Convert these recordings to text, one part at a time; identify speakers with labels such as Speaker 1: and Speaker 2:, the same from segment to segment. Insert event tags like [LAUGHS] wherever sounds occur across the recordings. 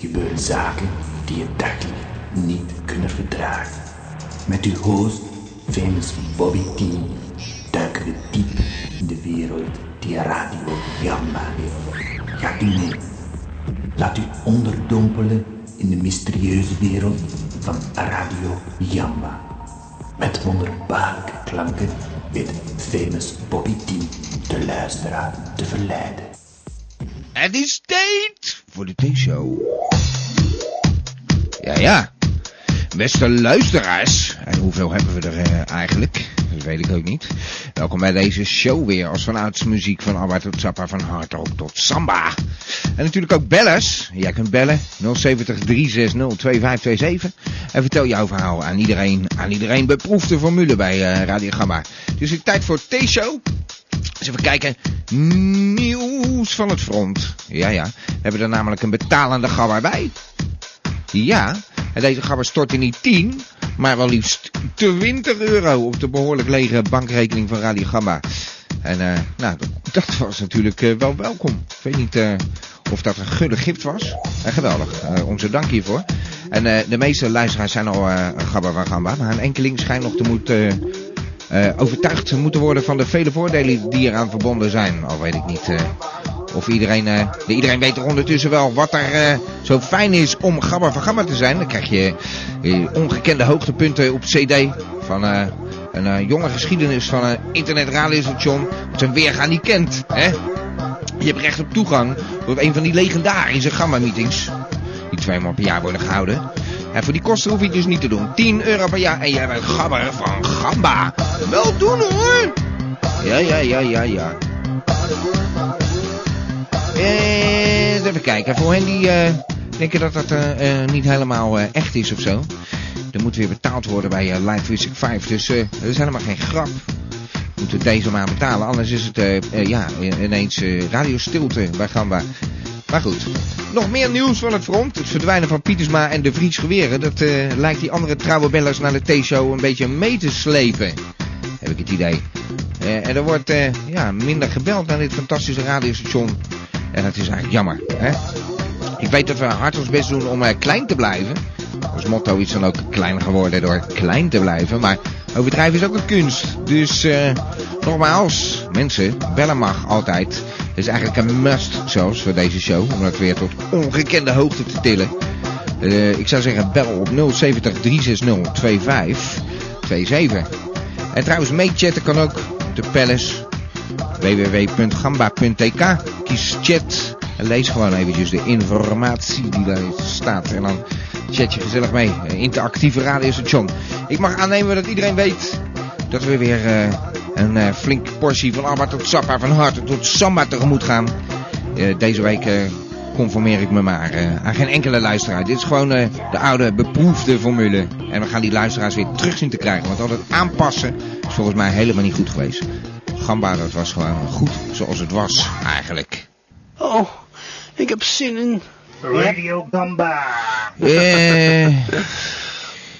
Speaker 1: gebeuren zaken die je dagelijks niet kunnen verdragen. Met uw host, famous Bobby T, duiken we diep in de wereld die Radio Gamma heeft. Gaat u mee? Laat u onderdompelen in de mysterieuze wereld van Radio Jamba. Met wonderbaarlijke klanken weet famous Bobby T de luisteraar te verleiden.
Speaker 2: Het is tijd voor de T-show. Ja, ja. Beste luisteraars. En hoeveel hebben we er eh, eigenlijk? Dat weet ik ook niet. Welkom bij deze show weer. Als vanouds muziek van Abba tot Zappa, van hardrock tot samba. En natuurlijk ook bellers. Jij kunt bellen 070 360 2527. En vertel jouw verhaal aan iedereen. Aan iedereen beproefde formule bij eh, Radio Gamma. Dus het is tijd voor T-show. Eens even kijken. Nieuws van het front. Ja, ja. We hebben er namelijk een betalende gabber bij. Ja. En deze gabber stortte niet 10, maar wel liefst 20 euro op de behoorlijk lege bankrekening van Radio Gamma. En eh, nou, dat- dat was natuurlijk eh, wel welkom. Ik weet niet eh, of dat een gulle gift was. Eh, geweldig. Eh, onze dank hiervoor. En eh, de meeste luisteraars zijn al eh gabber van Gamma. Maar een enkeling schijnt nog te moeten... eh, overtuigd moeten worden van de vele voordelen die eraan verbonden zijn. Al weet ik niet eh, of iedereen... eh, iedereen weet er ondertussen wel wat er eh, zo fijn is om Gamma van Gamma te zijn. Dan krijg je eh, ongekende hoogtepunten op cd van... eh, een eh, jonge geschiedenis van een internetradiostation dat zijn weerga niet kent. Hè? Je hebt recht op toegang tot een van die legendarische gamma-meetings. Die tweemaal per jaar worden gehouden. En voor die kosten hoef je het dus niet te doen. 10 euro per jaar en jij bent gabber van Gamba. Wel doen hoor! Ja, ja, ja, ja, ja. Eh, even kijken. Voor hen die eh, denken dat dat eh, eh, niet helemaal eh, echt is of zo. Er moet weer betaald worden bij eh, Live Music 5. Dus eh, dat is helemaal geen grap. We moeten deze maar betalen. Anders is het eh, eh, ja, ineens eh radiostilte bij Gamba. Maar goed, nog meer nieuws van het front. Het verdwijnen van Pietersma en de Vries geweren. Dat eh, lijkt die andere trouwe bellers naar de T-show een beetje mee te slepen. Heb ik het idee. Eh, en er wordt eh, ja, minder gebeld naar dit fantastische radiostation. En dat is eigenlijk jammer. Hè? Ik weet dat we hard ons best doen om eh, klein te blijven. Ons motto is dan ook klein geworden door klein te blijven. Maar overdrijven is ook een kunst. Dus eh, nogmaals, mensen, bellen mag altijd. Het is eigenlijk een must zelfs voor deze show. Om dat weer tot ongekende hoogte te tillen. Eh, ik zou zeggen, bel op 070 360 2527. En trouwens, meechatten kan ook op de Palace. www.gamba.tk. Kies chat en lees gewoon eventjes de informatie die daar staat. En dan chat je gezellig mee. Een interactieve radiostation. Ik mag aannemen dat iedereen weet dat we weer eh, een eh, flinke portie van Abba tot Sappa, van Harte tot Samba tegemoet gaan. Eh, deze week eh, conformeer ik me maar eh, aan geen enkele luisteraar. Dit is gewoon eh, de oude beproefde formule. En we gaan die luisteraars weer terug zien te krijgen. Want altijd aanpassen is volgens mij helemaal niet goed geweest. Gamba, dat was gewoon goed zoals het was eigenlijk.
Speaker 3: Oh, ik heb zin in.
Speaker 4: Radio Gamba.
Speaker 2: Eh,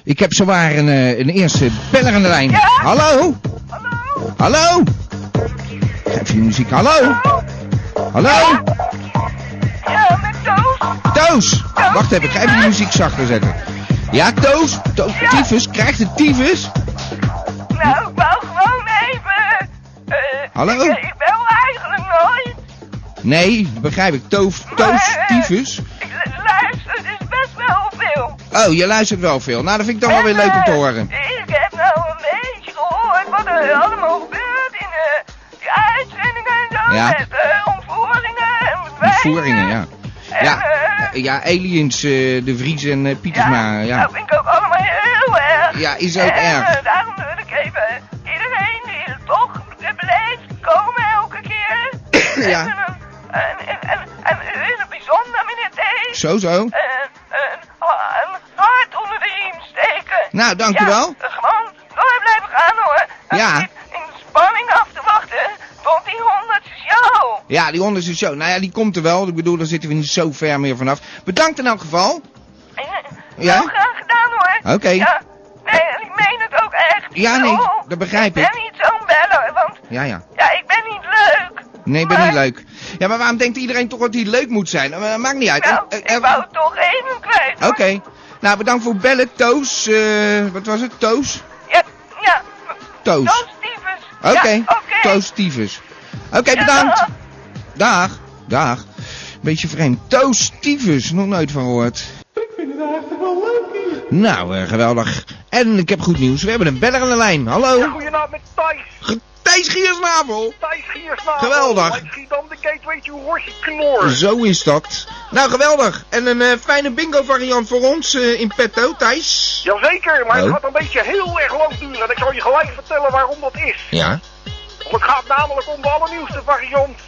Speaker 2: ik heb zowaar een, eh, een eerste beller aan de lijn. Hallo? Hallo? Hallo? Even die muziek. Hallo? Hallo? Ja, met Toos. Toos? Wacht even, ik ga even de muziek zachter zetten. Ja, Toos? Toos, tyfus? Krijgt de tyfus?
Speaker 5: Nou, ik wou gewoon even. eh,
Speaker 2: Hallo?
Speaker 5: Ik, ik bel eigenlijk nooit.
Speaker 2: Nee, begrijp ik. Toos, Toos, tyfus?
Speaker 5: Ik lu- luister dus best wel veel.
Speaker 2: Oh, je luistert wel veel. Nou, dat vind ik dan wel weer leuk om te
Speaker 5: eh,
Speaker 2: horen.
Speaker 5: Ik heb nou een beetje gehoord wat er allemaal gebeurt in eh, die uitzendingen en zo.
Speaker 2: Ja.
Speaker 5: Met eh, ontvoeringen en bedreigingen.
Speaker 2: Voeringen, ja.
Speaker 5: En,
Speaker 2: Ja,
Speaker 5: eh, nou,
Speaker 2: ja aliens, eh, De Vries en eh, Pietersma, ja.
Speaker 5: Dat vind ik ook allemaal heel erg.
Speaker 2: Ja, is ook
Speaker 5: en,
Speaker 2: erg.
Speaker 5: eh, daarom wil ik even iedereen die het toch beleeft komen elke keer.
Speaker 2: [COUGHS] Ja.
Speaker 5: En, en, en, en, en u is een bijzonder, meneer T. Eh,
Speaker 2: Zo, zo.
Speaker 5: En, en, een hart onder de riem steken.
Speaker 2: Nou, dank u
Speaker 5: eh, Ja,
Speaker 2: wel.
Speaker 5: Gewoon door blijven gaan hoor. En
Speaker 2: Ja.
Speaker 5: niet In spanning af te wachten tot die honderdste show.
Speaker 2: Ja, die onderste show. Nou ja, die komt er wel. Ik bedoel, daar zitten we niet zo ver meer vanaf. Bedankt in elk geval.
Speaker 5: En, eh,
Speaker 2: Ja?
Speaker 5: nou, graag gedaan hoor.
Speaker 2: [LAUGHS] Oké.
Speaker 5: Ja. Nee, en ik meen het ook echt.
Speaker 2: Ja, nee,
Speaker 5: Oh,
Speaker 2: dat begrijp
Speaker 5: ik.
Speaker 2: ik.
Speaker 5: ben niet zo'n beller, want
Speaker 2: Ja, ja.
Speaker 5: ja, ik ben niet leuk.
Speaker 2: Nee, ik ben niet leuk. Ja, maar waarom denkt iedereen toch dat hij leuk moet zijn? Eh, Maakt niet uit.
Speaker 6: Nou,
Speaker 2: Eh, eh,
Speaker 6: ik wou het toch even kwijt.
Speaker 2: Oké. Nou, bedankt voor het bellen, Toos. Eh, wat was het? Toos?
Speaker 6: Ja, ja.
Speaker 2: Toos.
Speaker 6: Toasttyfus.
Speaker 2: Oké.
Speaker 6: Ja, oké.
Speaker 2: Toos tyfus. Oké, bedankt. Dag. Dag. Beetje vreemd. Toos tyfus. Nog nooit van gehoord. Nou, eh, geweldig. En ik heb goed nieuws. We hebben een beller aan de lijn. Hallo.
Speaker 7: Goedenavond met Thijs.
Speaker 2: Thijs Giersnavel.
Speaker 7: Thijs Giersnavel.
Speaker 2: Geweldig.
Speaker 7: Uit Schiedam, de gateway to Horse Knor.
Speaker 2: Zo is dat. Nou, geweldig. En een eh, fijne bingo variant voor ons eh, in petto, Thijs.
Speaker 7: Jazeker, maar
Speaker 2: Oh.
Speaker 7: het gaat een beetje heel erg lang duren. En ik zal je gelijk vertellen waarom dat is.
Speaker 2: Ja.
Speaker 7: Want het gaat namelijk om de allernieuwste variant.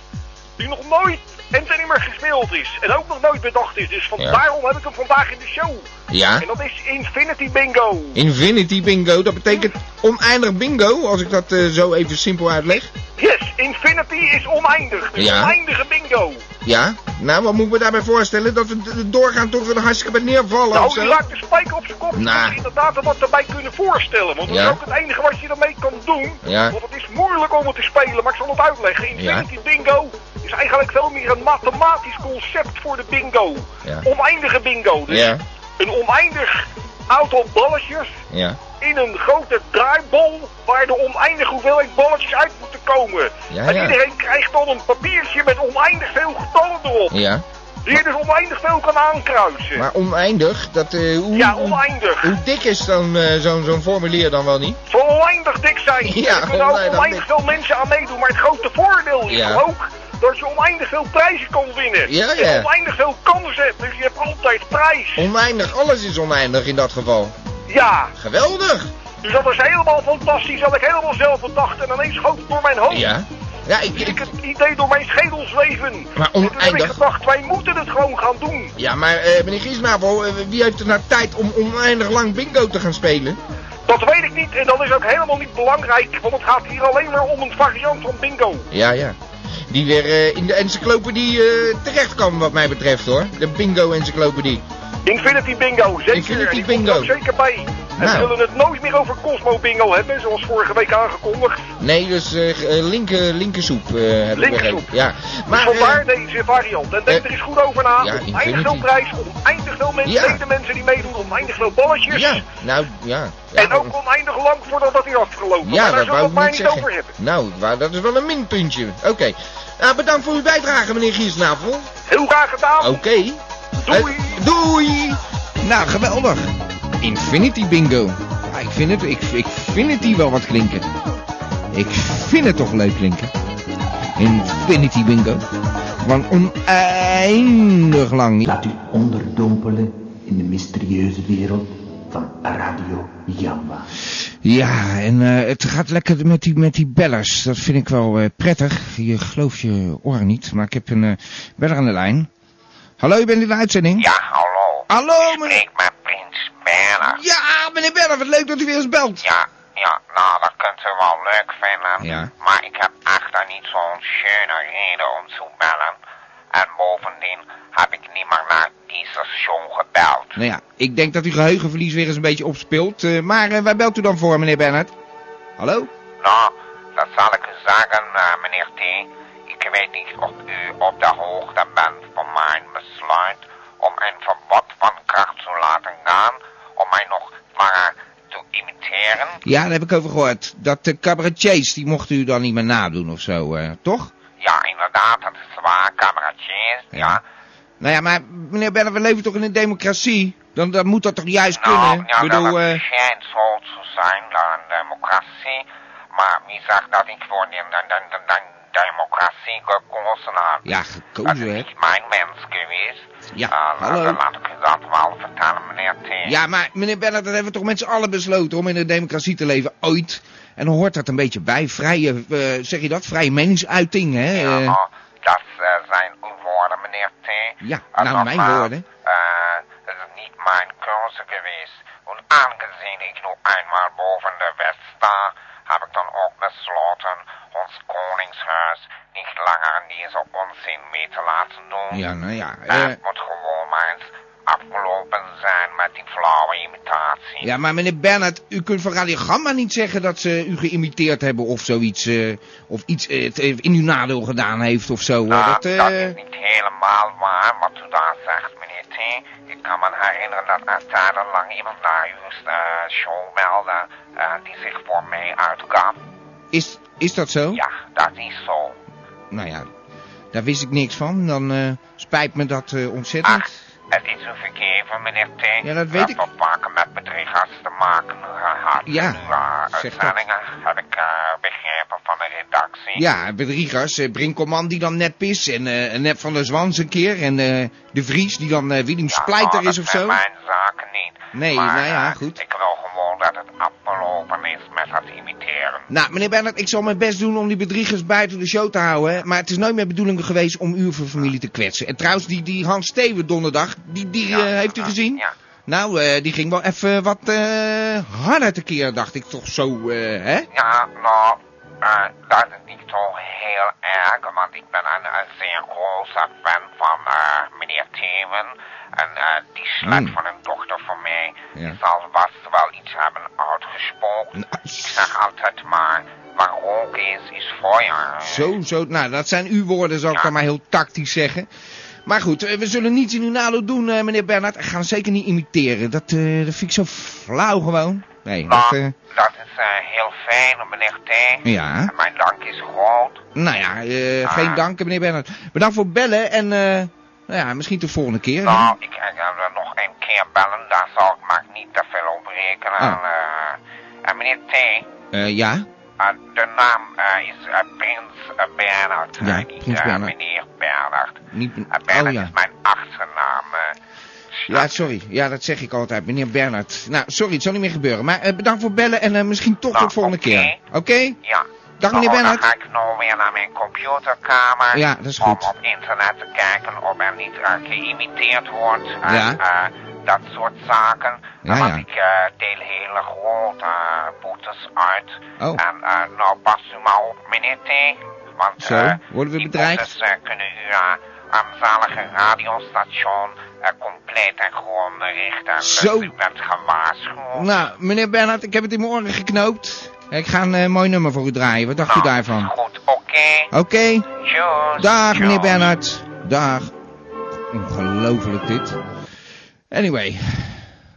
Speaker 7: Die nog nooit en ten nimmer gespeeld is. En ook nog nooit bedacht is. Dus van
Speaker 2: Ja.
Speaker 7: daarom heb ik hem vandaag in de show.
Speaker 2: Ja.
Speaker 7: En dat is Infinity Bingo.
Speaker 2: Infinity bingo, dat betekent oneindig bingo, als ik dat eh, zo even simpel uitleg.
Speaker 7: Yes, Infinity is oneindig. Dus
Speaker 2: Ja.
Speaker 7: oneindige bingo.
Speaker 2: Ja. Nou, wat moet ik me daarbij voorstellen? Dat we d- doorgaan tot we er hartstikke bij neervallen
Speaker 7: Nou,
Speaker 2: of zo?
Speaker 7: die raakt de spijker op zijn kop. Je
Speaker 2: Nou.
Speaker 7: moet je inderdaad wat erbij kunnen voorstellen. Want dat
Speaker 2: Ja.
Speaker 7: is ook het enige wat je ermee kan doen.
Speaker 2: Ja.
Speaker 7: Want het is moeilijk om het te spelen, maar ik zal het uitleggen. Infinity Bingo is eigenlijk veel meer een mathematisch concept voor de bingo.
Speaker 2: Ja.
Speaker 7: Oneindige bingo. Dus
Speaker 2: Ja.
Speaker 7: een oneindig aantal balletjes
Speaker 2: Ja.
Speaker 7: in een grote draaibol waar de oneindige hoeveelheid balletjes uit moeten komen.
Speaker 2: Ja,
Speaker 7: en
Speaker 2: ja.
Speaker 7: iedereen krijgt dan een papiertje met oneindig veel getallen erop.
Speaker 2: Ja.
Speaker 7: Die je dus oneindig veel kan aankruisen.
Speaker 2: Maar oneindig, dat... eh, hoe,
Speaker 7: Ja,
Speaker 2: hoe-
Speaker 7: oneindig.
Speaker 2: Hoe dik is dan eh, zo'n zo'n formulier dan wel niet?
Speaker 7: zal oneindig dik zijn.
Speaker 2: Ja, [LAUGHS]
Speaker 7: er kunnen ook
Speaker 2: oneindig
Speaker 7: oneindig
Speaker 2: dik.
Speaker 7: veel mensen aan meedoen. Maar het grote voordeel is
Speaker 2: Ja.
Speaker 7: toch ook dat je oneindig veel prijzen kan winnen.
Speaker 2: Ja,
Speaker 7: En
Speaker 2: ja.
Speaker 7: oneindig veel kansen hebt, dus je hebt altijd prijs.
Speaker 2: Oneindig, alles is oneindig in dat geval.
Speaker 7: Ja,
Speaker 2: Geweldig!
Speaker 7: dus dat is helemaal fantastisch. Had ik helemaal zelf bedacht en ineens schoot het door mijn hoofd.
Speaker 2: Ja. Ja, ik,
Speaker 7: Dus ik
Speaker 2: ik,
Speaker 7: het idee door mijn schedel zweven.
Speaker 2: Maar
Speaker 7: En toen heb ik
Speaker 2: oneindig.
Speaker 7: gedacht, wij moeten het gewoon gaan doen.
Speaker 2: ja maar eh, meneer Giesnavel, eh, wie heeft er nou tijd om oneindig lang bingo te gaan spelen?
Speaker 7: Dat weet ik niet en dat is ook helemaal niet belangrijk. Want het gaat hier alleen maar om een variant van bingo.
Speaker 2: Ja, ja. Die weer eh, in de encyclopedie eh, terecht kan wat mij betreft hoor. De bingo encyclopedie.
Speaker 7: Infinity Bingo, zeker.
Speaker 2: Infinity
Speaker 7: En die komt
Speaker 2: Bingo.
Speaker 7: er ook zeker bij. En
Speaker 2: Nou.
Speaker 7: we zullen het nooit meer over Cosmo Bingo hebben, zoals vorige week aangekondigd.
Speaker 2: Nee, dus eh, g- eh, linker, linkersoep eh heb ik
Speaker 7: Linkersoep.
Speaker 2: begrepen. Ja.
Speaker 7: Maar,
Speaker 2: Maar,
Speaker 7: dus
Speaker 2: eh,
Speaker 7: vandaar deze variant. En denk
Speaker 2: eh,
Speaker 7: er eens goed over na.
Speaker 2: ja,
Speaker 7: oneindig veel
Speaker 2: Infinity.
Speaker 7: prijs, oneindig veel mensen,
Speaker 2: Ja.
Speaker 7: weten mensen die meedoen, oneindig veel balletjes.
Speaker 2: ja, nou ja. ja
Speaker 7: En ook oneindig lang voordat dat hier afgelopen.
Speaker 2: ja,
Speaker 7: maar daar
Speaker 2: dat wou ik
Speaker 7: zullen we het maar
Speaker 2: niet
Speaker 7: niet
Speaker 2: zeggen.
Speaker 7: over hebben.
Speaker 2: Nou, wa- dat is wel een minpuntje. Oké. Nou, bedankt voor uw bijdrage, meneer Giesnavel.
Speaker 7: Heel graag gedaan.
Speaker 2: Oké.
Speaker 7: Doei.
Speaker 2: Eh, doei. Nou, geweldig. Infinity Bingo. Ja, ik vind het, ik, ik vind het hier wel wat klinken. Ik vind het toch leuk klinken. Infinity Bingo. Van oneindig lang.
Speaker 8: Laat u onderdompelen in de mysterieuze wereld van Radio Jamba.
Speaker 2: Ja, en eh, het gaat lekker met die, met die bellers. Dat vind ik wel eh, prettig. Je gelooft je oren niet, maar ik heb een eh, beller aan de lijn. Hallo, je bent in de uitzending?
Speaker 9: Ja, hallo.
Speaker 2: Hallo, meneer.
Speaker 9: Ik ben Prins Berner.
Speaker 2: Ja, meneer Beller, wat leuk dat u weer eens belt.
Speaker 9: Ja, ja, nou, dat kunt u wel leuk vinden.
Speaker 2: Ja.
Speaker 9: Maar ik heb echt niet zo'n schöne reden om te bellen. En bovendien heb ik niet meer naar die station gebeld.
Speaker 2: Nou ja, ik denk dat uw geheugenverlies weer eens een beetje opspeelt. eh, maar eh, waar belt u dan voor, meneer Bernhard? Hallo?
Speaker 9: Nou, dat zal ik u zeggen, eh, meneer T. Ik weet niet of u op de hoogte bent van mijn besluit om een verbod van kracht te laten gaan om mij nog langer te imiteren.
Speaker 2: Ja, daar heb ik over gehoord. Dat de cabaretiers, die mochten u dan niet meer nadoen of zo, eh, toch?
Speaker 9: Ja, inderdaad, dat is waar, kameradjes. Ja.
Speaker 2: Nou ja, maar meneer Bernhard, we leven toch in een democratie? Dan, dan moet dat toch juist
Speaker 9: Nou,
Speaker 2: kunnen?
Speaker 9: Genau, ja,
Speaker 2: ik bedoel,
Speaker 9: dat
Speaker 2: eh,
Speaker 9: het schijnt zo te zijn, de democratie. Maar wie zegt dat ik voor die de, de, de- de democratie gekozen heb?
Speaker 2: ja,
Speaker 9: dat is
Speaker 2: gekozen, hè?
Speaker 9: niet mijn mens geweest.
Speaker 2: Ja,
Speaker 9: Eh,
Speaker 2: hallo.
Speaker 9: Dan laat ik u dat wel vertellen, meneer T.
Speaker 2: Ja, maar meneer Bernhard, dat hebben we toch met z'n allen besloten om in een democratie te leven, ooit? En dan hoort dat een beetje bij, vrije, eh, zeg je dat, vrije meningsuiting, hè?
Speaker 9: Ja,
Speaker 2: eh.
Speaker 9: nou, dat eh, zijn uw woorden, meneer T.
Speaker 2: Ja,
Speaker 9: Eh,
Speaker 2: nou, mijn
Speaker 9: nogmaals,
Speaker 2: woorden.
Speaker 9: eh, Het is niet mijn keuze geweest. En aangezien ik nu eenmaal boven de wet sta, heb ik dan ook besloten ons koningshuis niet langer aan deze onzin mee te laten doen.
Speaker 2: ja nou ja. eh,
Speaker 9: Het moet gewoon maar eens afgelopen zijn met die flauwe imitatie. imitatie.
Speaker 2: Ja, maar meneer Bernhard, u kunt van Radio Gamma niet zeggen dat ze u geïmiteerd hebben of zoiets. eh, of iets eh, het in uw nadeel gedaan heeft of zo. hoor.
Speaker 9: Nou,
Speaker 2: dat, eh,
Speaker 9: dat is niet helemaal waar wat u daar zegt, meneer T. Ik kan me herinneren dat er jarenlang iemand naar uw eh, show meldde eh, die zich voor mij uitgaf.
Speaker 2: is, is dat zo?
Speaker 9: Ja, dat is zo.
Speaker 2: Nou ja, daar wist ik niks van. Dan eh, spijt me dat eh, ontzettend.
Speaker 9: Ach, het is u vergeven, meneer T.
Speaker 2: Ja, dat weet ik.
Speaker 9: Dat we vaker met bedriegers te maken eh, hadden.
Speaker 2: Ja,
Speaker 9: Nu, eh,
Speaker 2: zeg dat.
Speaker 9: uitzendingen heb ik eh, begrepen van de redactie.
Speaker 2: Ja, bedriegers. eh, Brinkelman die dan net pis. En eh Nep van der Zwans een keer. En eh, De Vries die dan eh Willem Splijter
Speaker 9: nou,
Speaker 2: is
Speaker 9: dat
Speaker 2: of zo.
Speaker 9: zijn mijn zaken niet.
Speaker 2: Nee,
Speaker 9: maar,
Speaker 2: nou ja,
Speaker 9: eh,
Speaker 2: goed.
Speaker 9: Ik wil gewoon dat het afgelopen is met dat imiteren.
Speaker 2: Nou, meneer Bernhard, ik zal mijn best doen om die bedriegers buiten de show te houden. hè, Maar het is nooit mijn bedoeling geweest om uw familie te kwetsen. En trouwens, die, die Hans Steven donderdag, die, die
Speaker 9: Ja,
Speaker 2: eh, heeft u
Speaker 9: ja,
Speaker 2: gezien?
Speaker 9: ja.
Speaker 2: Nou, eh, die ging wel even wat eh harder tekeer, dacht ik toch zo, eh, hè?
Speaker 9: Ja, nou, eh, dat is niet zo heel erg, want ik ben een, een zeer grote fan van eh, meneer Themen. En eh, die slet
Speaker 2: Hmm.
Speaker 9: van hun dochter voor mij
Speaker 2: Ja.
Speaker 9: zal vast wel iets hebben uitgesproken.
Speaker 2: Nou,
Speaker 9: Ik zeg altijd maar, waar rook is, is feuer.
Speaker 2: Zo, zo. Nou, dat zijn uw woorden, zal ik dan maar heel tactisch zeggen. Maar goed, eh, we zullen niets in uw nadeel doen, eh, meneer Bernhard. Ik ga hem zeker niet imiteren. Dat, eh, dat vind ik zo flauw gewoon. Nee, dat...
Speaker 9: Nou,
Speaker 2: eh,
Speaker 9: dat is eh, heel fijn, meneer T.
Speaker 2: ja.
Speaker 9: En mijn dank is groot.
Speaker 2: Nou ja, eh,
Speaker 9: Ah.
Speaker 2: geen dank, meneer Bernhard. Bedankt voor het bellen en eh, nou ja, misschien de volgende keer. hè?
Speaker 9: Nou, ik ga er nog een keer bellen, daar zal ik maar niet te veel op rekenen.
Speaker 2: Ah.
Speaker 9: En, eh, en meneer T,
Speaker 2: Eh, ja,
Speaker 9: eh, de naam eh, is eh, Prins eh, Bernhard, eh,
Speaker 2: Ja,
Speaker 9: niet
Speaker 2: Prins
Speaker 9: eh,
Speaker 2: Bernhard.
Speaker 9: meneer Bernhard.
Speaker 2: niet...
Speaker 9: Eh, Bernhard
Speaker 2: Oh ja.
Speaker 9: is mijn achternaam. eh.
Speaker 2: Ja, sorry. Ja, dat zeg ik altijd, meneer Bernhard. Nou, sorry, het zal niet meer gebeuren. Maar eh, bedankt voor het bellen en eh, misschien toch
Speaker 9: Nou,
Speaker 2: tot de volgende
Speaker 9: oké.
Speaker 2: keer. Oké?
Speaker 9: ja.
Speaker 2: Dag, meneer
Speaker 9: Nou,
Speaker 2: Bernhard.
Speaker 9: Dan ga ik nou weer naar mijn computerkamer.
Speaker 2: Ja, dat is goed.
Speaker 9: Om op internet te kijken of er niet eh, geïmiteerd wordt. En,
Speaker 2: Ja.
Speaker 9: eh, dat soort zaken.
Speaker 2: Ja,
Speaker 9: Want
Speaker 2: ja.
Speaker 9: ik eh, deel hele grote eh, boetes uit.
Speaker 2: Oh.
Speaker 9: En eh, nou pas u maar op, meneer T. Want
Speaker 2: Zo,
Speaker 9: eh,
Speaker 2: worden we
Speaker 9: die
Speaker 2: bedreigd?
Speaker 9: boetes eh, kunnen u eh, aan zalige radiostation eh, compleet en gewoon richten.
Speaker 2: Zo.
Speaker 9: Dus u bent gewaarschuwd.
Speaker 2: Nou, meneer Bernhard, ik heb het in mijn oren geknoopt. Ik ga een eh, mooi nummer voor u draaien. Wat dacht u
Speaker 9: Nou,
Speaker 2: daarvan?
Speaker 9: Goed, oké.
Speaker 2: Oké,
Speaker 9: Tjus,
Speaker 2: dag
Speaker 9: tjus.
Speaker 2: meneer Bernhard. Dag. Ongelooflijk dit. Anyway,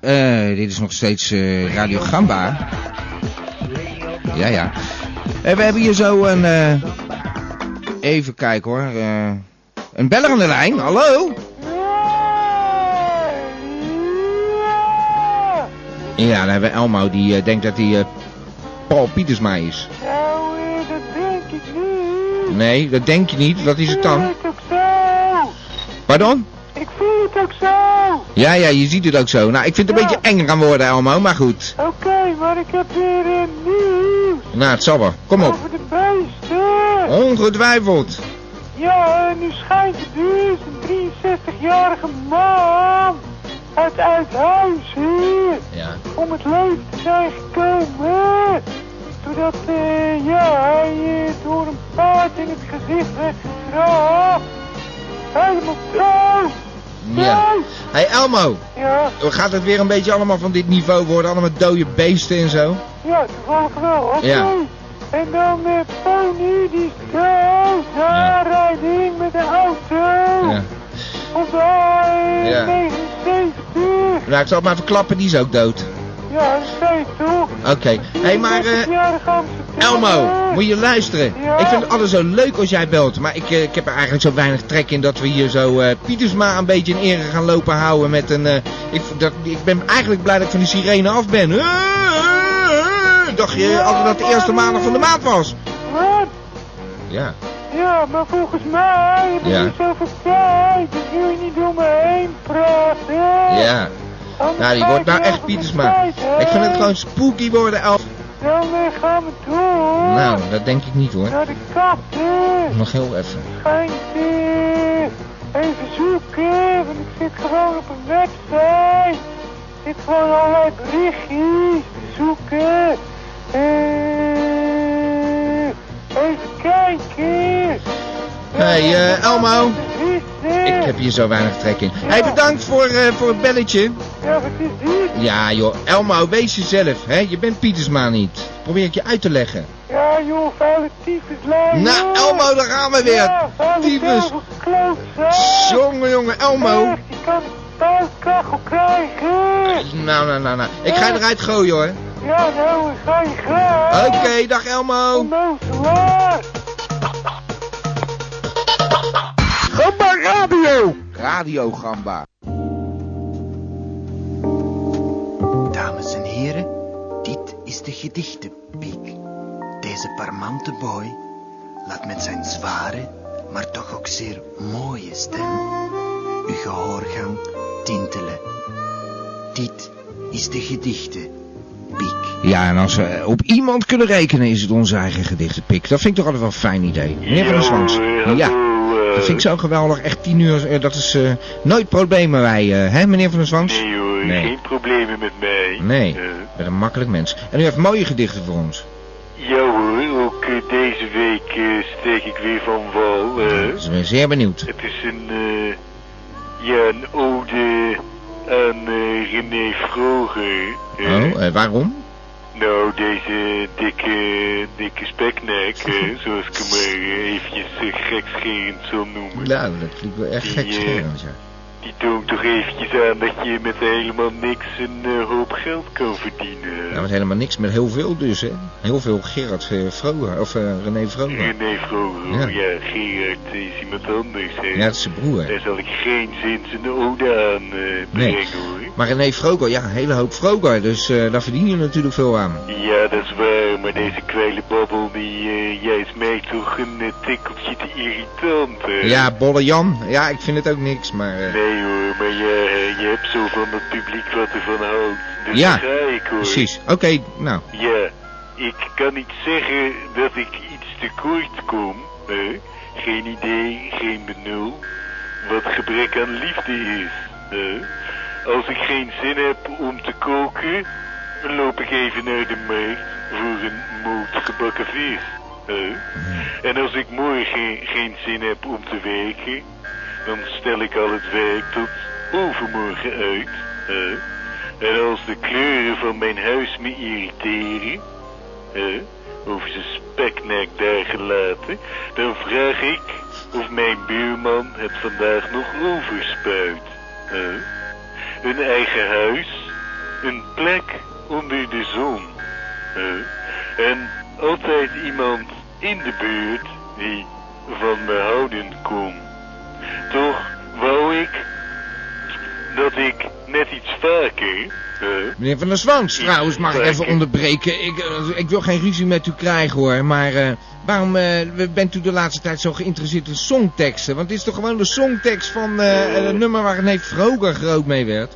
Speaker 2: eh, dit is nog steeds eh, Radio Gamba. Ja, ja. Eh, we hebben hier zo een... eh, even kijken hoor. eh, een beller aan de lijn, hallo? Ja, dan hebben we Elmo die eh, denkt dat hij eh, Paul Pietersma is.
Speaker 5: Nou, eh, dat denk ik niet.
Speaker 2: Nee, dat denk je niet. Wat is het
Speaker 5: Ik
Speaker 2: dan?
Speaker 5: voel het ook zo.
Speaker 2: Pardon?
Speaker 5: Ik voel het ook zo.
Speaker 2: Ja, ja, je ziet het ook zo. Nou, ik vind het een
Speaker 5: Ja.
Speaker 2: beetje eng gaan worden, Elmo, maar goed.
Speaker 5: Oké, maar ik heb weer een nieuws
Speaker 2: Nou, het zal wel. Kom op.
Speaker 5: over de beesten.
Speaker 2: Ongetwijfeld.
Speaker 5: Ja, en nu schijnt het dus een 63-jarige man uit Uithuizen
Speaker 2: Ja.
Speaker 5: om het leven te zijn gekomen. Doordat eh, ja, hij eh, door een paard in het gezicht werd getrapt. Helemaal dood.
Speaker 2: Ja. Hey Elmo,
Speaker 5: Ja,
Speaker 2: gaat het weer een beetje allemaal van dit niveau worden? Allemaal dode beesten en zo?
Speaker 5: ja, toevallig wel. Oké.
Speaker 2: Ja.
Speaker 5: En dan eh Pony, die is dood. Aanrijding met de auto.
Speaker 2: Ja.
Speaker 5: Of hij
Speaker 2: Ja.
Speaker 5: 79.
Speaker 2: Nou, ik zal het maar verklappen, die is ook dood.
Speaker 5: Ja, dat zei je toch?
Speaker 2: Oké. Hé, hey, maar eh,
Speaker 5: 40-jarige Amsterdammer.
Speaker 2: Elmo, moet je luisteren.
Speaker 5: Ja.
Speaker 2: Ik vind het alles zo leuk als jij belt. Maar ik, eh, ik heb er eigenlijk zo weinig trek in dat we hier zo eh, Pietersma een beetje in ere gaan lopen houden met een... eh, ik, dat, ik ben eigenlijk blij dat ik van die sirene af ben. Eh, eh, eh, Dacht je altijd dat het de eerste maandag van de maand was?
Speaker 5: Wat?
Speaker 2: Ja.
Speaker 5: Ja, maar volgens mij heb je
Speaker 2: Ja.
Speaker 5: niet zoveel tijd. Dus wil je niet door me heen praten.
Speaker 2: Ja.
Speaker 5: Anders
Speaker 2: Nou, die
Speaker 5: ga
Speaker 2: wordt
Speaker 5: ik
Speaker 2: nou
Speaker 5: je
Speaker 2: echt
Speaker 5: over mijn
Speaker 2: Pietersma.
Speaker 5: tijd heen.
Speaker 2: Ik vind het gewoon spooky worden, Elf.
Speaker 5: Dan eh, gaan we door.
Speaker 2: Nou, dat denk ik niet hoor.
Speaker 5: Naar de kapper.
Speaker 2: Nog heel even.
Speaker 5: Schijnt eh, even zoeken. Want ik zit gewoon op een website. Ik zit gewoon allerlei berichtjes te zoeken. Eh, even kijken.
Speaker 2: Hey, eh, Elmo.
Speaker 5: Wat is dit?
Speaker 2: Ik heb hier zo weinig trek in. Hé, hey, bedankt voor, eh, voor het belletje.
Speaker 5: Ja, wat is dit?
Speaker 2: Ja, joh. Elmo, wees jezelf, hè. Je bent Pietersma niet. Probeer ik je uit te leggen.
Speaker 5: Ja, joh, vuile tyfus, lui.
Speaker 2: Nou,
Speaker 5: joh.
Speaker 2: Elmo, daar gaan we weer.
Speaker 5: Ja, vuile
Speaker 2: Tyfus.
Speaker 5: klootzak.
Speaker 2: Jongen, jongen, Elmo.
Speaker 5: Echt, je kan een thuiskachel krijgen.
Speaker 2: Nou, nou, nou, nou. Ik ga je eruit gooien, hoor.
Speaker 5: Ja, nou, ik ga je graag. nou
Speaker 2: Oké, dag Elmo.
Speaker 5: Onnozelaar.
Speaker 2: Gamba Radio. Radio Gamba.
Speaker 8: Dames en heren, dit is de gedichtenpiek. Deze parmante boy laat met zijn zware, maar toch ook zeer mooie stem uw gehoorgang tintelen. Dit is de gedichtenpiek.
Speaker 2: Ja, en als we op iemand kunnen rekenen, is het onze eigen gedichtenpik. Dat vind ik toch altijd wel een fijn idee. Meneer van der Zwans. Ja, dat vind ik zo geweldig. Echt tien uur, eh, dat is eh, nooit problemen wij, eh, hè meneer van der Zwans? Nee hoor, geen
Speaker 10: problemen met mij.
Speaker 2: Nee, ik ben een makkelijk mens. En u heeft mooie gedichten voor ons.
Speaker 10: Ja hoor, ook eh, deze week eh, steek ik weer van wal. eh.
Speaker 2: Dus ik ben zeer benieuwd.
Speaker 10: Het is een, eh, ja, een ode aan eh, René Vroger.
Speaker 2: Oh,
Speaker 10: eh.
Speaker 2: eh, waarom?
Speaker 10: Nou, deze dikke, dikke speknek, eh, zoals ik hem maar eh, eventjes eh, gekscherend zal noemen.
Speaker 2: Nou, dat klinkt wel echt
Speaker 10: Die,
Speaker 2: gek
Speaker 10: eh,
Speaker 2: ja.
Speaker 10: Die toont toch eventjes aan dat je met helemaal niks een eh, hoop geld kan verdienen.
Speaker 2: Nou, met helemaal niks, met heel veel dus, hè. Heel veel Gerard eh, Vroger, of eh, René Vroger.
Speaker 10: René Vroger,
Speaker 2: Ja.
Speaker 10: ja. ja, Gerard eh, is iemand anders. Hè.
Speaker 2: Ja, dat is zijn broer.
Speaker 10: Daar zal ik geen zin zijn ode aan eh,
Speaker 2: Nee.
Speaker 10: brengen hoor.
Speaker 2: Maar René Vroger, ja, een hele hoop Vroger, dus eh, daar verdien je natuurlijk veel aan.
Speaker 10: Ja, dat is waar, maar deze kwijlenbabbel, die, eh, jij is mij toch een eh, tikkeltje te irritant. hè?
Speaker 2: Ja, Bolle Jan. Ja, ik vind het ook niks, maar... eh,
Speaker 10: Nee hoor, maar je, je hebt zo van het publiek wat ervan houdt. Dus
Speaker 2: Ja,
Speaker 10: daar ga ik hoor.
Speaker 2: precies. Oké, nou.
Speaker 10: Ja, ik kan niet zeggen dat ik iets tekort kom. hè. Geen idee, geen benul. Wat gebrek aan liefde is. hè. Als ik geen zin heb om te koken, dan loop ik even naar de markt voor een moot gebakken vis. hè. En als ik morgen geen zin heb om te werken, dan stel ik al het werk tot overmorgen uit. hè. En als de kleuren van mijn huis me irriteren, hè, over zijn speknek daar gelaten, dan vraag ik of mijn buurman het vandaag nog overspuit. hè. Een eigen huis, een plek onder de zon. hè. En altijd iemand in de buurt die van me houden kon. Toch wou ik dat ik net iets vaker. hè,
Speaker 2: Meneer Van der Zwans, trouwens, mag ik even
Speaker 10: Zeker.
Speaker 2: onderbreken? Ik, eh, ik wil geen ruzie met u krijgen, hoor. Maar eh, waarom eh, bent u de laatste tijd zo geïnteresseerd in songteksten? Want het is toch gewoon de songtekst van eh, het nummer waar René Vroger groot mee werd?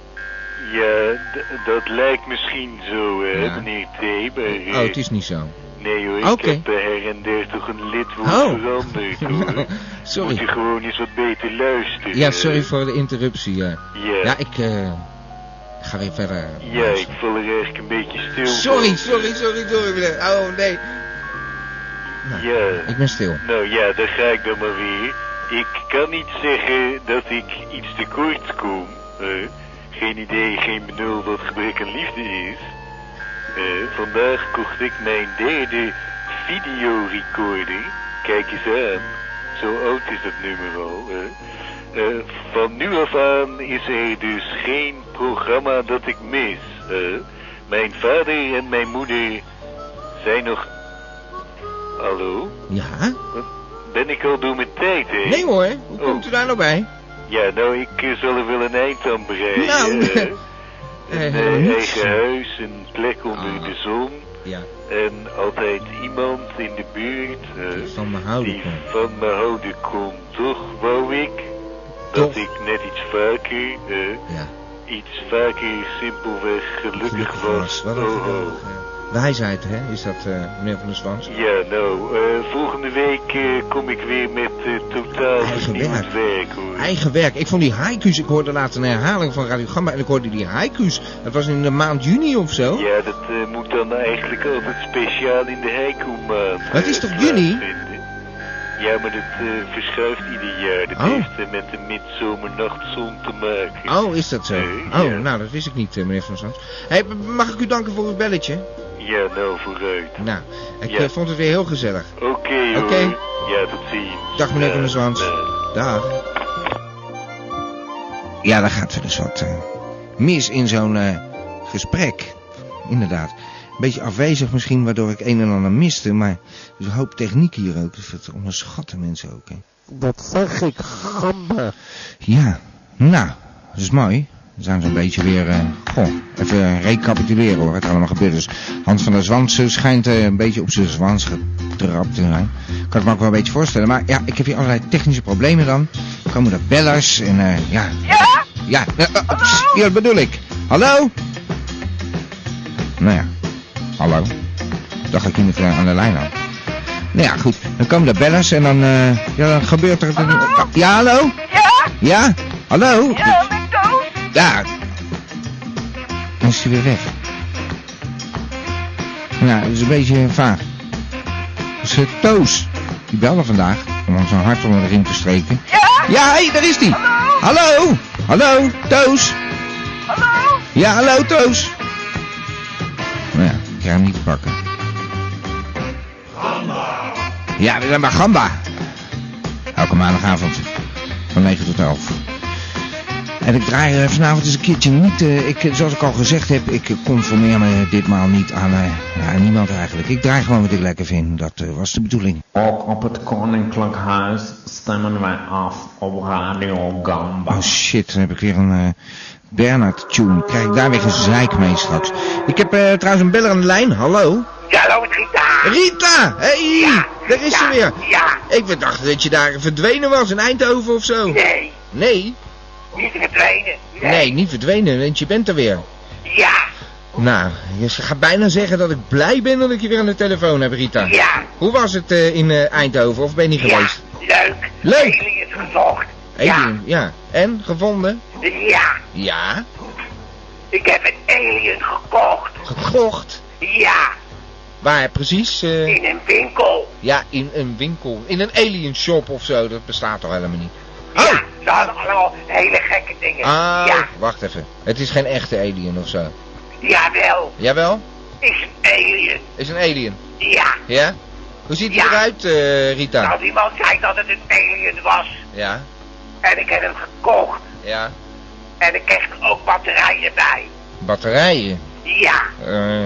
Speaker 10: ja, d- dat lijkt misschien zo, hè, meneer T. Maar, eh,
Speaker 2: Oh, het is niet zo.
Speaker 10: Nee hoor, ik
Speaker 2: Oké.
Speaker 10: heb eh, her en der toch een lidwoord
Speaker 2: Oh. [LAUGHS]
Speaker 10: veranderd hoor.
Speaker 2: sorry.
Speaker 10: Moet je gewoon eens wat beter luisteren.
Speaker 2: Ja, sorry voor de interruptie. ja.
Speaker 10: Ja.
Speaker 2: Ja, ik eh, ga weer verder.
Speaker 10: Ja, ik val er eigenlijk een beetje stil
Speaker 2: Sorry,
Speaker 10: van.
Speaker 2: sorry, sorry, sorry. meneer. Oh, nee.
Speaker 10: Ja.
Speaker 2: Nou, Ik ben stil.
Speaker 10: Nou ja, daar ga ik dan maar weer. Ik kan niet zeggen dat ik iets tekort kom. hè. geen idee, geen benul wat gebrek aan liefde is. Eh, vandaag kocht ik mijn derde videorecorder. Kijk eens aan. Zo oud is dat nummer al. hè. Eh, van nu af aan is er dus geen programma dat ik mis. hè. mijn vader en mijn moeder zijn nog... Hallo?
Speaker 2: Ja?
Speaker 10: Ben ik al door mijn tijd heen? Oh,
Speaker 2: Nee hoor, hoe komt u daar nou bij?
Speaker 10: Ja, nou, ik eh, zal er wel een eind aan bereiden.
Speaker 2: Nou,
Speaker 10: eh.
Speaker 2: eh,
Speaker 10: een eh,
Speaker 2: helemaal Ah. niets.
Speaker 10: eigen huis, een plek onder de zon.
Speaker 2: Ja.
Speaker 10: En altijd iemand in de buurt eh,
Speaker 2: Van me houden.
Speaker 10: die van me houden kon. Toch wou ik dat ik net iets vaker, eh, iets vaker simpelweg gelukkig was.
Speaker 2: Wat
Speaker 10: Oh,
Speaker 2: een
Speaker 10: oh.
Speaker 2: geweldig, eh, wijsheid, hè? Is dat, eh, meneer Van der Zwans?
Speaker 10: Ja, nou, eh, volgende week eh, kom ik weer met eh, totaal vernieuwd werk hoor.
Speaker 2: Eigen werk. Ik vond die haiku's, ik hoorde laatst een herhaling van Radio Gamba en ik hoorde die haiku's. Het was in de maand juni of zo.
Speaker 10: Ja, dat eh, eh, moet dan eigenlijk altijd speciaal in de haiku maand.
Speaker 2: Maar het is toch juni?
Speaker 10: Ja, maar dat eh, verschuift ieder jaar. Dat
Speaker 2: Oh.
Speaker 10: heeft eh, met de midzomernachtzon te maken.
Speaker 2: Oh, is dat zo?
Speaker 10: Eh,
Speaker 2: oh,
Speaker 10: ja.
Speaker 2: nou, dat wist ik niet, eh, meneer Van Zandt. Hey, m- mag ik u danken voor het belletje?
Speaker 10: Ja, nou, vooruit.
Speaker 2: Nou, ik
Speaker 10: Ja.
Speaker 2: eh, vond het weer heel gezellig.
Speaker 10: Oké, hoor.
Speaker 2: Oké.
Speaker 10: Ja, tot ziens.
Speaker 2: Dag, meneer Van der
Speaker 10: Eh,
Speaker 2: Zwans.
Speaker 10: eh.
Speaker 2: Dag. Ja, daar gaat er dus wat eh, mis in zo'n eh, gesprek. Inderdaad. Een beetje afwezig misschien, waardoor ik een en ander miste. Maar er is een hoop techniek hier ook. Dus dat onderschatten mensen ook. Hè.
Speaker 11: Dat zeg ik, gamba.
Speaker 2: Ja, nou, dat is mooi. Dan zijn ze een beetje weer... eh, goh, even recapituleren hoor, wat er allemaal gebeurd is. Hans van der Zwans eh, schijnt eh, een beetje op zijn zwans getrapt te zijn. Ik kan het me ook wel een beetje voorstellen. Maar ja, ik heb hier allerlei technische problemen dan. Er komen er bellers en eh, ja... Ja? Ja, eh, eh, pst, ja, dat bedoel ik. Hallo? Nou ja, hallo. Dacht ik iemand eh, aan de lijn had. Nou ja, goed. Dan komen de bellers en dan, eh, ja, dan gebeurt er... Ja, hallo? Ja? Ja? Hallo? Ja, ik Ja. Dan is hij weer weg. Nou, dat is een beetje vaag. Dat is eh, Toos. Die belde vandaag om ons een hart onder de riem te steken. Ja? Ja, hé, daar is hij. Hallo? Hallo? Hallo, Toos? Hallo? Ja, hallo, Toos. Nou ja, ik krijg hem niet te pakken. Ja, we zijn bij Gamba. Elke maandagavond. Van 9 tot 11. En ik draai eh, vanavond eens een keertje niet. eh, ik, eh, zoals ik al gezegd heb, ik eh, conformeer me ditmaal niet aan eh, ja, niemand eigenlijk. Ik draai gewoon wat ik lekker vind. Dat eh, was de bedoeling.
Speaker 12: Ook op het Koninklijk Huis stemmen wij af op Radio Gamba.
Speaker 2: Oh shit, dan heb ik weer een eh Bernard tune. Krijg ik daar weer een zeik mee straks. Ik heb eh, trouwens een beller aan de lijn. Hallo?
Speaker 13: Ja, hallo, het Rita.
Speaker 2: Rita! Hey! daar is ze weer.
Speaker 13: Ja.
Speaker 2: Ik dacht dat je daar verdwenen was in Eindhoven of zo.
Speaker 13: Nee.
Speaker 2: Nee?
Speaker 13: Niet verdwijnen.
Speaker 2: Nee, niet verdwenen, want je bent er weer.
Speaker 13: Ja.
Speaker 2: Nou, je gaat bijna zeggen dat ik blij ben dat ik je weer aan de telefoon heb, Rita.
Speaker 13: Ja.
Speaker 2: Hoe was het eh, in eh, Eindhoven, of ben je niet geweest?
Speaker 13: Leuk.
Speaker 2: Leuk!
Speaker 13: Alien is gezocht.
Speaker 2: Alien, ja. En, gevonden?
Speaker 13: Ja.
Speaker 2: Ja.
Speaker 13: Ik heb een alien gekocht.
Speaker 2: Gekocht?
Speaker 13: Ja.
Speaker 2: Waar precies? eh,
Speaker 13: In een winkel.
Speaker 2: Ja, in een winkel. In een alien shop of zo, dat bestaat toch helemaal niet?
Speaker 13: Ja. Ze hadden allemaal hele gekke dingen.
Speaker 2: Ah,
Speaker 13: Ja.
Speaker 2: wacht even. Het is geen echte alien of zo.
Speaker 13: Jawel.
Speaker 2: Jawel?
Speaker 13: Is een alien.
Speaker 2: Is een alien.
Speaker 13: Ja.
Speaker 2: Ja? Hoe ziet hij
Speaker 13: Ja.
Speaker 2: eruit, eh, Rita?
Speaker 13: Nou, iemand zei dat het een alien was.
Speaker 2: Ja,
Speaker 13: En ik heb hem gekocht.
Speaker 2: ja.
Speaker 13: En ik kreeg er ook batterijen bij.
Speaker 2: Batterijen.
Speaker 13: Ja.
Speaker 2: Eh,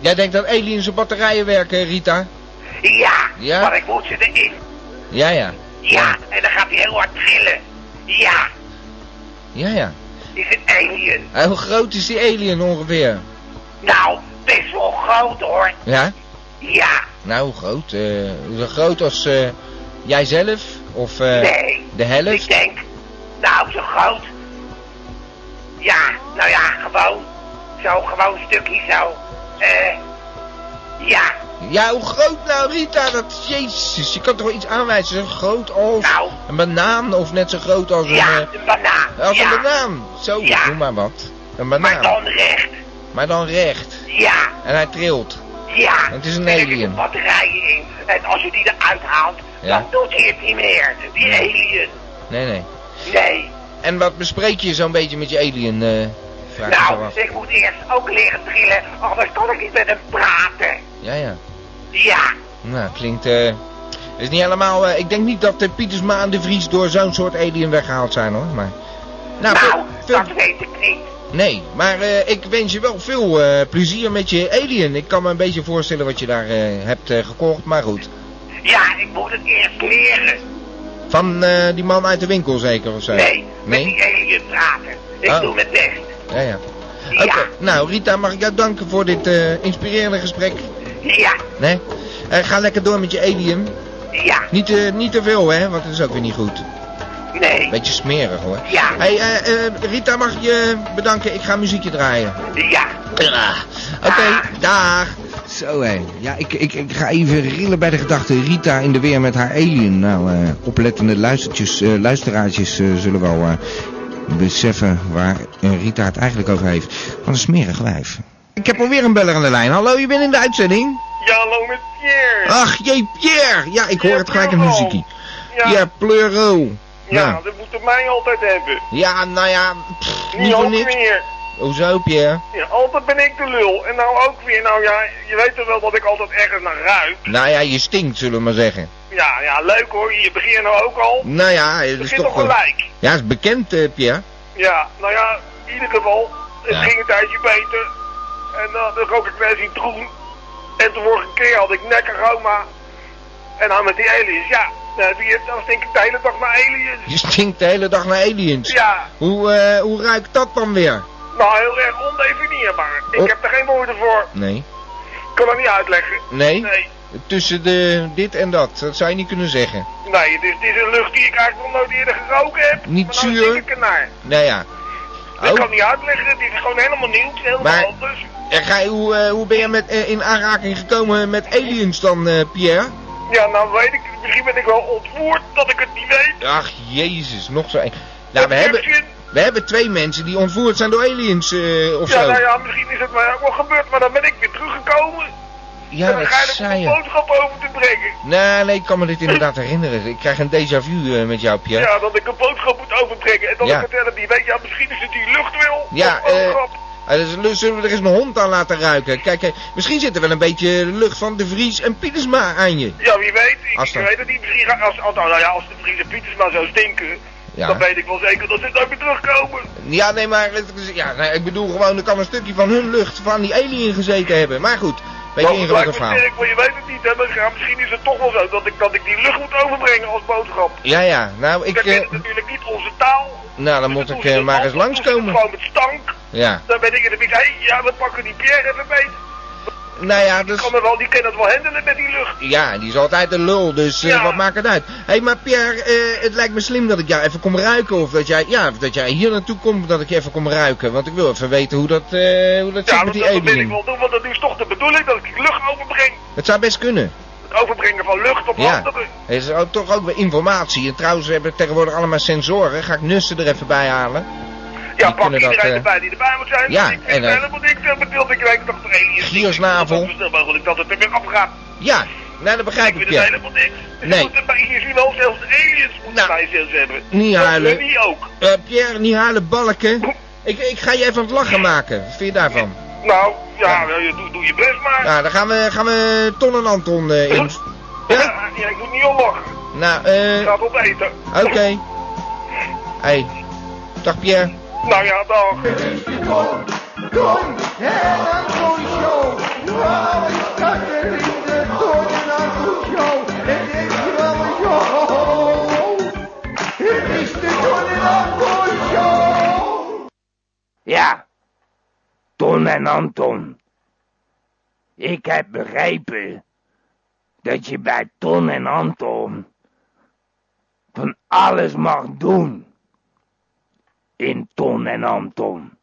Speaker 2: jij denkt dat aliens op batterijen werken, Rita?
Speaker 13: Ja.
Speaker 2: Ja?
Speaker 13: Maar ik moet ze erin.
Speaker 2: Ja, ja.
Speaker 13: Ja. En dan gaat hij heel hard trillen. Ja.
Speaker 2: Ja, ja.
Speaker 13: Is een alien.
Speaker 2: Eh, hoe groot is die alien ongeveer?
Speaker 13: Nou, best wel groot hoor.
Speaker 2: Ja?
Speaker 13: Ja.
Speaker 2: Nou, hoe groot? Eh, zo groot als eh, jijzelf? Of eh,
Speaker 13: Nee.
Speaker 2: de helft?
Speaker 13: Ik denk, nou, zo groot. Ja, nou ja, gewoon. Zo, gewoon een stukje zo. Eh. ja.
Speaker 2: Ja, hoe groot nou, Rita? Dat, jezus, je kan toch wel iets aanwijzen? Zo groot als een banaan of net zo groot als
Speaker 13: Nou. Ja,
Speaker 2: een... eh,
Speaker 13: een banaan.
Speaker 2: als
Speaker 13: ja.
Speaker 2: een banaan. Zo,
Speaker 13: Ja.
Speaker 2: noem maar wat. Een banaan.
Speaker 13: Maar dan recht.
Speaker 2: Maar dan recht.
Speaker 13: Ja.
Speaker 2: En hij trilt.
Speaker 13: Ja.
Speaker 2: Het is een
Speaker 13: Er
Speaker 2: alien.
Speaker 13: zitten batterijen in. En als je die eruit haalt,
Speaker 2: Ja.
Speaker 13: dan doet hij het niet meer. Die alien.
Speaker 2: Nee, nee.
Speaker 13: Nee.
Speaker 2: En wat bespreek je zo'n beetje met je alien? eh vraag ik zo
Speaker 13: nou,
Speaker 2: af.
Speaker 13: ik moet eerst ook leren trillen, anders kan ik niet met hem praten.
Speaker 2: Ja, ja.
Speaker 13: Ja.
Speaker 2: Nou, klinkt... eh is niet helemaal... eh, ik denk niet dat de Pietersma en de Vries door zo'n soort alien weggehaald zijn, hoor. Maar... Nou, dat
Speaker 13: weet ik niet.
Speaker 2: Nee, maar eh, ik wens je wel veel eh, plezier met je alien. Ik kan me een beetje voorstellen wat je daar eh, hebt eh, gekocht, maar goed.
Speaker 13: Ja, ik moet het eerst leren.
Speaker 2: Van eh, die man uit de winkel zeker of zo?
Speaker 13: Nee, met
Speaker 2: Nee?
Speaker 13: die alien praten. Ik
Speaker 2: Oh.
Speaker 13: doe mijn best.
Speaker 2: Ja, ja. Oké, nou Rita, mag ik jou danken voor dit eh, inspirerende gesprek?
Speaker 13: Ja,
Speaker 2: Nee? Eh, ga lekker door met je alien.
Speaker 13: ja,
Speaker 2: Niet, eh, niet te veel, hè, want dat is ook weer niet goed.
Speaker 13: nee,
Speaker 2: Beetje smerig, hoor.
Speaker 13: Ja.
Speaker 2: Hey, eh, eh, Rita, mag ik je bedanken? Ik ga muziekje draaien.
Speaker 13: ja.
Speaker 2: Oké, dag. Zo hé. Ja, ik, ik, ik ga even rillen bij de gedachte. Rita in de weer met haar alien. Nou, eh, oplettende luistertjes, eh, luisteraartjes eh, zullen wel eh, beseffen waar eh, Rita het eigenlijk over heeft. Wat een smerig wijf. Ik heb alweer een beller aan de lijn. Hallo, je bent in de uitzending?
Speaker 14: Ja, hallo met Pierre.
Speaker 2: Ach, jee, Pierre. Ja, ik hoor
Speaker 14: Pierre
Speaker 2: het gelijk een
Speaker 14: Pleuro.
Speaker 2: muziekje.
Speaker 14: Ja.
Speaker 2: Pierre Pleuro.
Speaker 14: Ja,
Speaker 2: Nou.
Speaker 14: dat moet er mij altijd hebben.
Speaker 2: Ja, nou ja, pff,
Speaker 14: Nu
Speaker 2: niet voor
Speaker 14: ook
Speaker 2: niks.
Speaker 14: weer.
Speaker 2: Hoezo, Pierre?
Speaker 14: Ja, altijd ben ik de lul. En nou ook weer. Nou ja, je weet toch wel dat ik altijd ergens naar ruik.
Speaker 2: Nou ja, je stinkt, zullen we maar zeggen.
Speaker 14: Ja, ja, leuk hoor. Je begint nou ook al.
Speaker 2: Nou ja, het is
Speaker 14: Begin
Speaker 2: toch
Speaker 14: toch
Speaker 2: wel-
Speaker 14: gelijk.
Speaker 2: Ja, is bekend, eh, Pierre.
Speaker 14: Ja, nou ja, in ieder geval, het
Speaker 2: Ja.
Speaker 14: ging een tijdje beter. En dan dan rook ik weer zien troen. En de vorige keer had ik nekkeroma. En dan met die aliens, ja. Dan, heb je, dan stink ik de hele dag naar aliens.
Speaker 2: Je stinkt de hele dag naar aliens.
Speaker 14: Ja.
Speaker 2: Hoe, eh, hoe ruikt dat dan weer?
Speaker 14: Nou, heel erg ondefinieerbaar. Ik
Speaker 2: Oh.
Speaker 14: heb er geen woorden voor.
Speaker 2: Nee.
Speaker 14: Ik kan dat niet uitleggen.
Speaker 2: Nee?
Speaker 14: Nee,
Speaker 2: Tussen de, dit en dat, dat zou je niet kunnen zeggen.
Speaker 14: nee het, is, het is een lucht die ik eigenlijk nog nooit eerder geroken heb.
Speaker 2: Niet
Speaker 14: maar
Speaker 2: zuur?
Speaker 14: Nou stink ik ernaar.
Speaker 2: Nou ja.
Speaker 14: Ik
Speaker 2: Oh.
Speaker 14: kan niet uitleggen. Dit is gewoon helemaal nieuw. Het is helemaal
Speaker 2: Maar-
Speaker 14: anders.
Speaker 2: En ga je- hoe, eh, hoe ben je met, eh, in aanraking gekomen met aliens dan, eh, Pierre?
Speaker 14: Ja, nou weet ik. het. Misschien ben ik wel ontvoerd dat ik het niet weet.
Speaker 2: Ach, jezus, nog zo een. Nou, we hebben, we hebben twee mensen die ontvoerd zijn door aliens, eh, of
Speaker 14: ja,
Speaker 2: zo.
Speaker 14: nou ja, misschien is het mij ook wel gebeurd, maar dan ben ik weer teruggekomen.
Speaker 2: Ja,
Speaker 14: en dan
Speaker 2: dat
Speaker 14: ga je er
Speaker 2: zei
Speaker 14: een
Speaker 2: je.
Speaker 14: boodschap over te brengen.
Speaker 2: Nou, Nee, nee, ik kan me dit inderdaad herinneren. Ik krijg een déjà vu eh, met jou,
Speaker 14: Ja.
Speaker 2: Pierre.
Speaker 14: dat ik een boodschap moet overbrengen. En dan
Speaker 2: Ja.
Speaker 14: vertellen die, weet je, ja, misschien is het die luchtwil.
Speaker 2: Ja,
Speaker 14: Of
Speaker 2: eh,
Speaker 14: boodschap.
Speaker 2: ah, dus- dus zullen we er eens een hond aan laten ruiken? Kijk, eh, misschien zit er wel een beetje de lucht van De Vries en Pietersma aan je.
Speaker 14: Ja, wie weet. Ik,
Speaker 2: Als
Speaker 14: ik
Speaker 2: dan-
Speaker 14: weet het niet. Misschien, ga- als, als, nou ja, als de Friese Pieters maar zo stinken,
Speaker 2: Ja.
Speaker 14: dan weet ik wel zeker dat ze het ook weer terugkomen.
Speaker 2: Ja, nee, maar het is- ja, nee, ik bedoel gewoon, er kan een stukje van hun lucht van die alien gezeten hebben. Maar goed, beetje
Speaker 14: Nou, het lijkt me
Speaker 2: ingewikkeld verhaal.
Speaker 14: sterk, maar je weet het niet, hè. Maar ja, misschien is het toch wel zo dat ik, dat ik die lucht moet overbrengen als boodschap.
Speaker 2: Ja, ja, nou, ik,
Speaker 14: Dat
Speaker 2: eh,
Speaker 14: is natuurlijk niet onze taal.
Speaker 2: nou dan moet ik eh, maar eens
Speaker 14: Gewoon
Speaker 2: langskomen.
Speaker 14: met stank.
Speaker 2: Ja,
Speaker 14: Dan ben ik in de biet, hé, ja, we pakken die Pierre even mee.
Speaker 2: nou ja,
Speaker 14: Die,
Speaker 2: dus,
Speaker 14: kan er wel, die kan het wel handelen met die lucht.
Speaker 2: ja, die is altijd een lul, dus eh,
Speaker 14: Ja.
Speaker 2: wat maakt het uit? Hé, hey, maar Pierre, eh, het lijkt me slim dat ik jou even kom ruiken. Of dat jij, ja, of dat jij hier naartoe komt, dat ik je even kom ruiken. Want ik wil even weten hoe dat, eh, hoe dat
Speaker 14: Ja,
Speaker 2: zit
Speaker 14: dat,
Speaker 2: met die
Speaker 14: dat wil ik
Speaker 2: alien.
Speaker 14: wel doen, want dat is toch de bedoeling dat ik die lucht overbreng.
Speaker 2: Het zou best kunnen.
Speaker 14: Het overbrengen van lucht op
Speaker 2: Ja,
Speaker 14: anderen.
Speaker 2: het is ook, toch ook weer informatie. En trouwens, we hebben tegenwoordig allemaal sensoren. Ga ik Nussen er even bij halen.
Speaker 14: Ja, pak
Speaker 2: kunnen dat,
Speaker 14: iedereen
Speaker 2: eh,
Speaker 14: erbij die erbij moet zijn.
Speaker 2: ja,
Speaker 14: ik
Speaker 2: en,
Speaker 14: vind
Speaker 2: eh,
Speaker 14: het helemaal niks aan bedoeld. Ik weet toch er één
Speaker 2: Giersnavel.
Speaker 14: Zo snel mogelijk dat het er weer afgaat.
Speaker 2: Ja, nou, dat begrijp ik,
Speaker 14: Ik vind het
Speaker 2: ja.
Speaker 14: helemaal niks. Dus
Speaker 2: Nee.
Speaker 14: je moet erbij- Hier zien wel zelfs de aliens moeten bij zelfs hebben.
Speaker 2: Nou, niet
Speaker 14: Dat
Speaker 2: huilen.
Speaker 14: doen die ook.
Speaker 2: Eh, Pierre, niet halen balken. Ik, ik ga je even aan het lachen maken. Wat vind je daarvan?
Speaker 14: Nou, ja, eh, doe, doe je best maar.
Speaker 2: Nou, dan gaan we, gaan we Ton en Anton eh, in.
Speaker 14: Ja, ja, ik moet niet omlachen.
Speaker 2: Nou, eh...
Speaker 14: Ik ga het opeten.
Speaker 2: Oké. Hey. Dag Pierre.
Speaker 14: Nou ja, dag.
Speaker 15: Ja, Ton en Anton. Ik heb begrepen dat je bij Ton en Anton van alles mag doen. In Ton en Anton.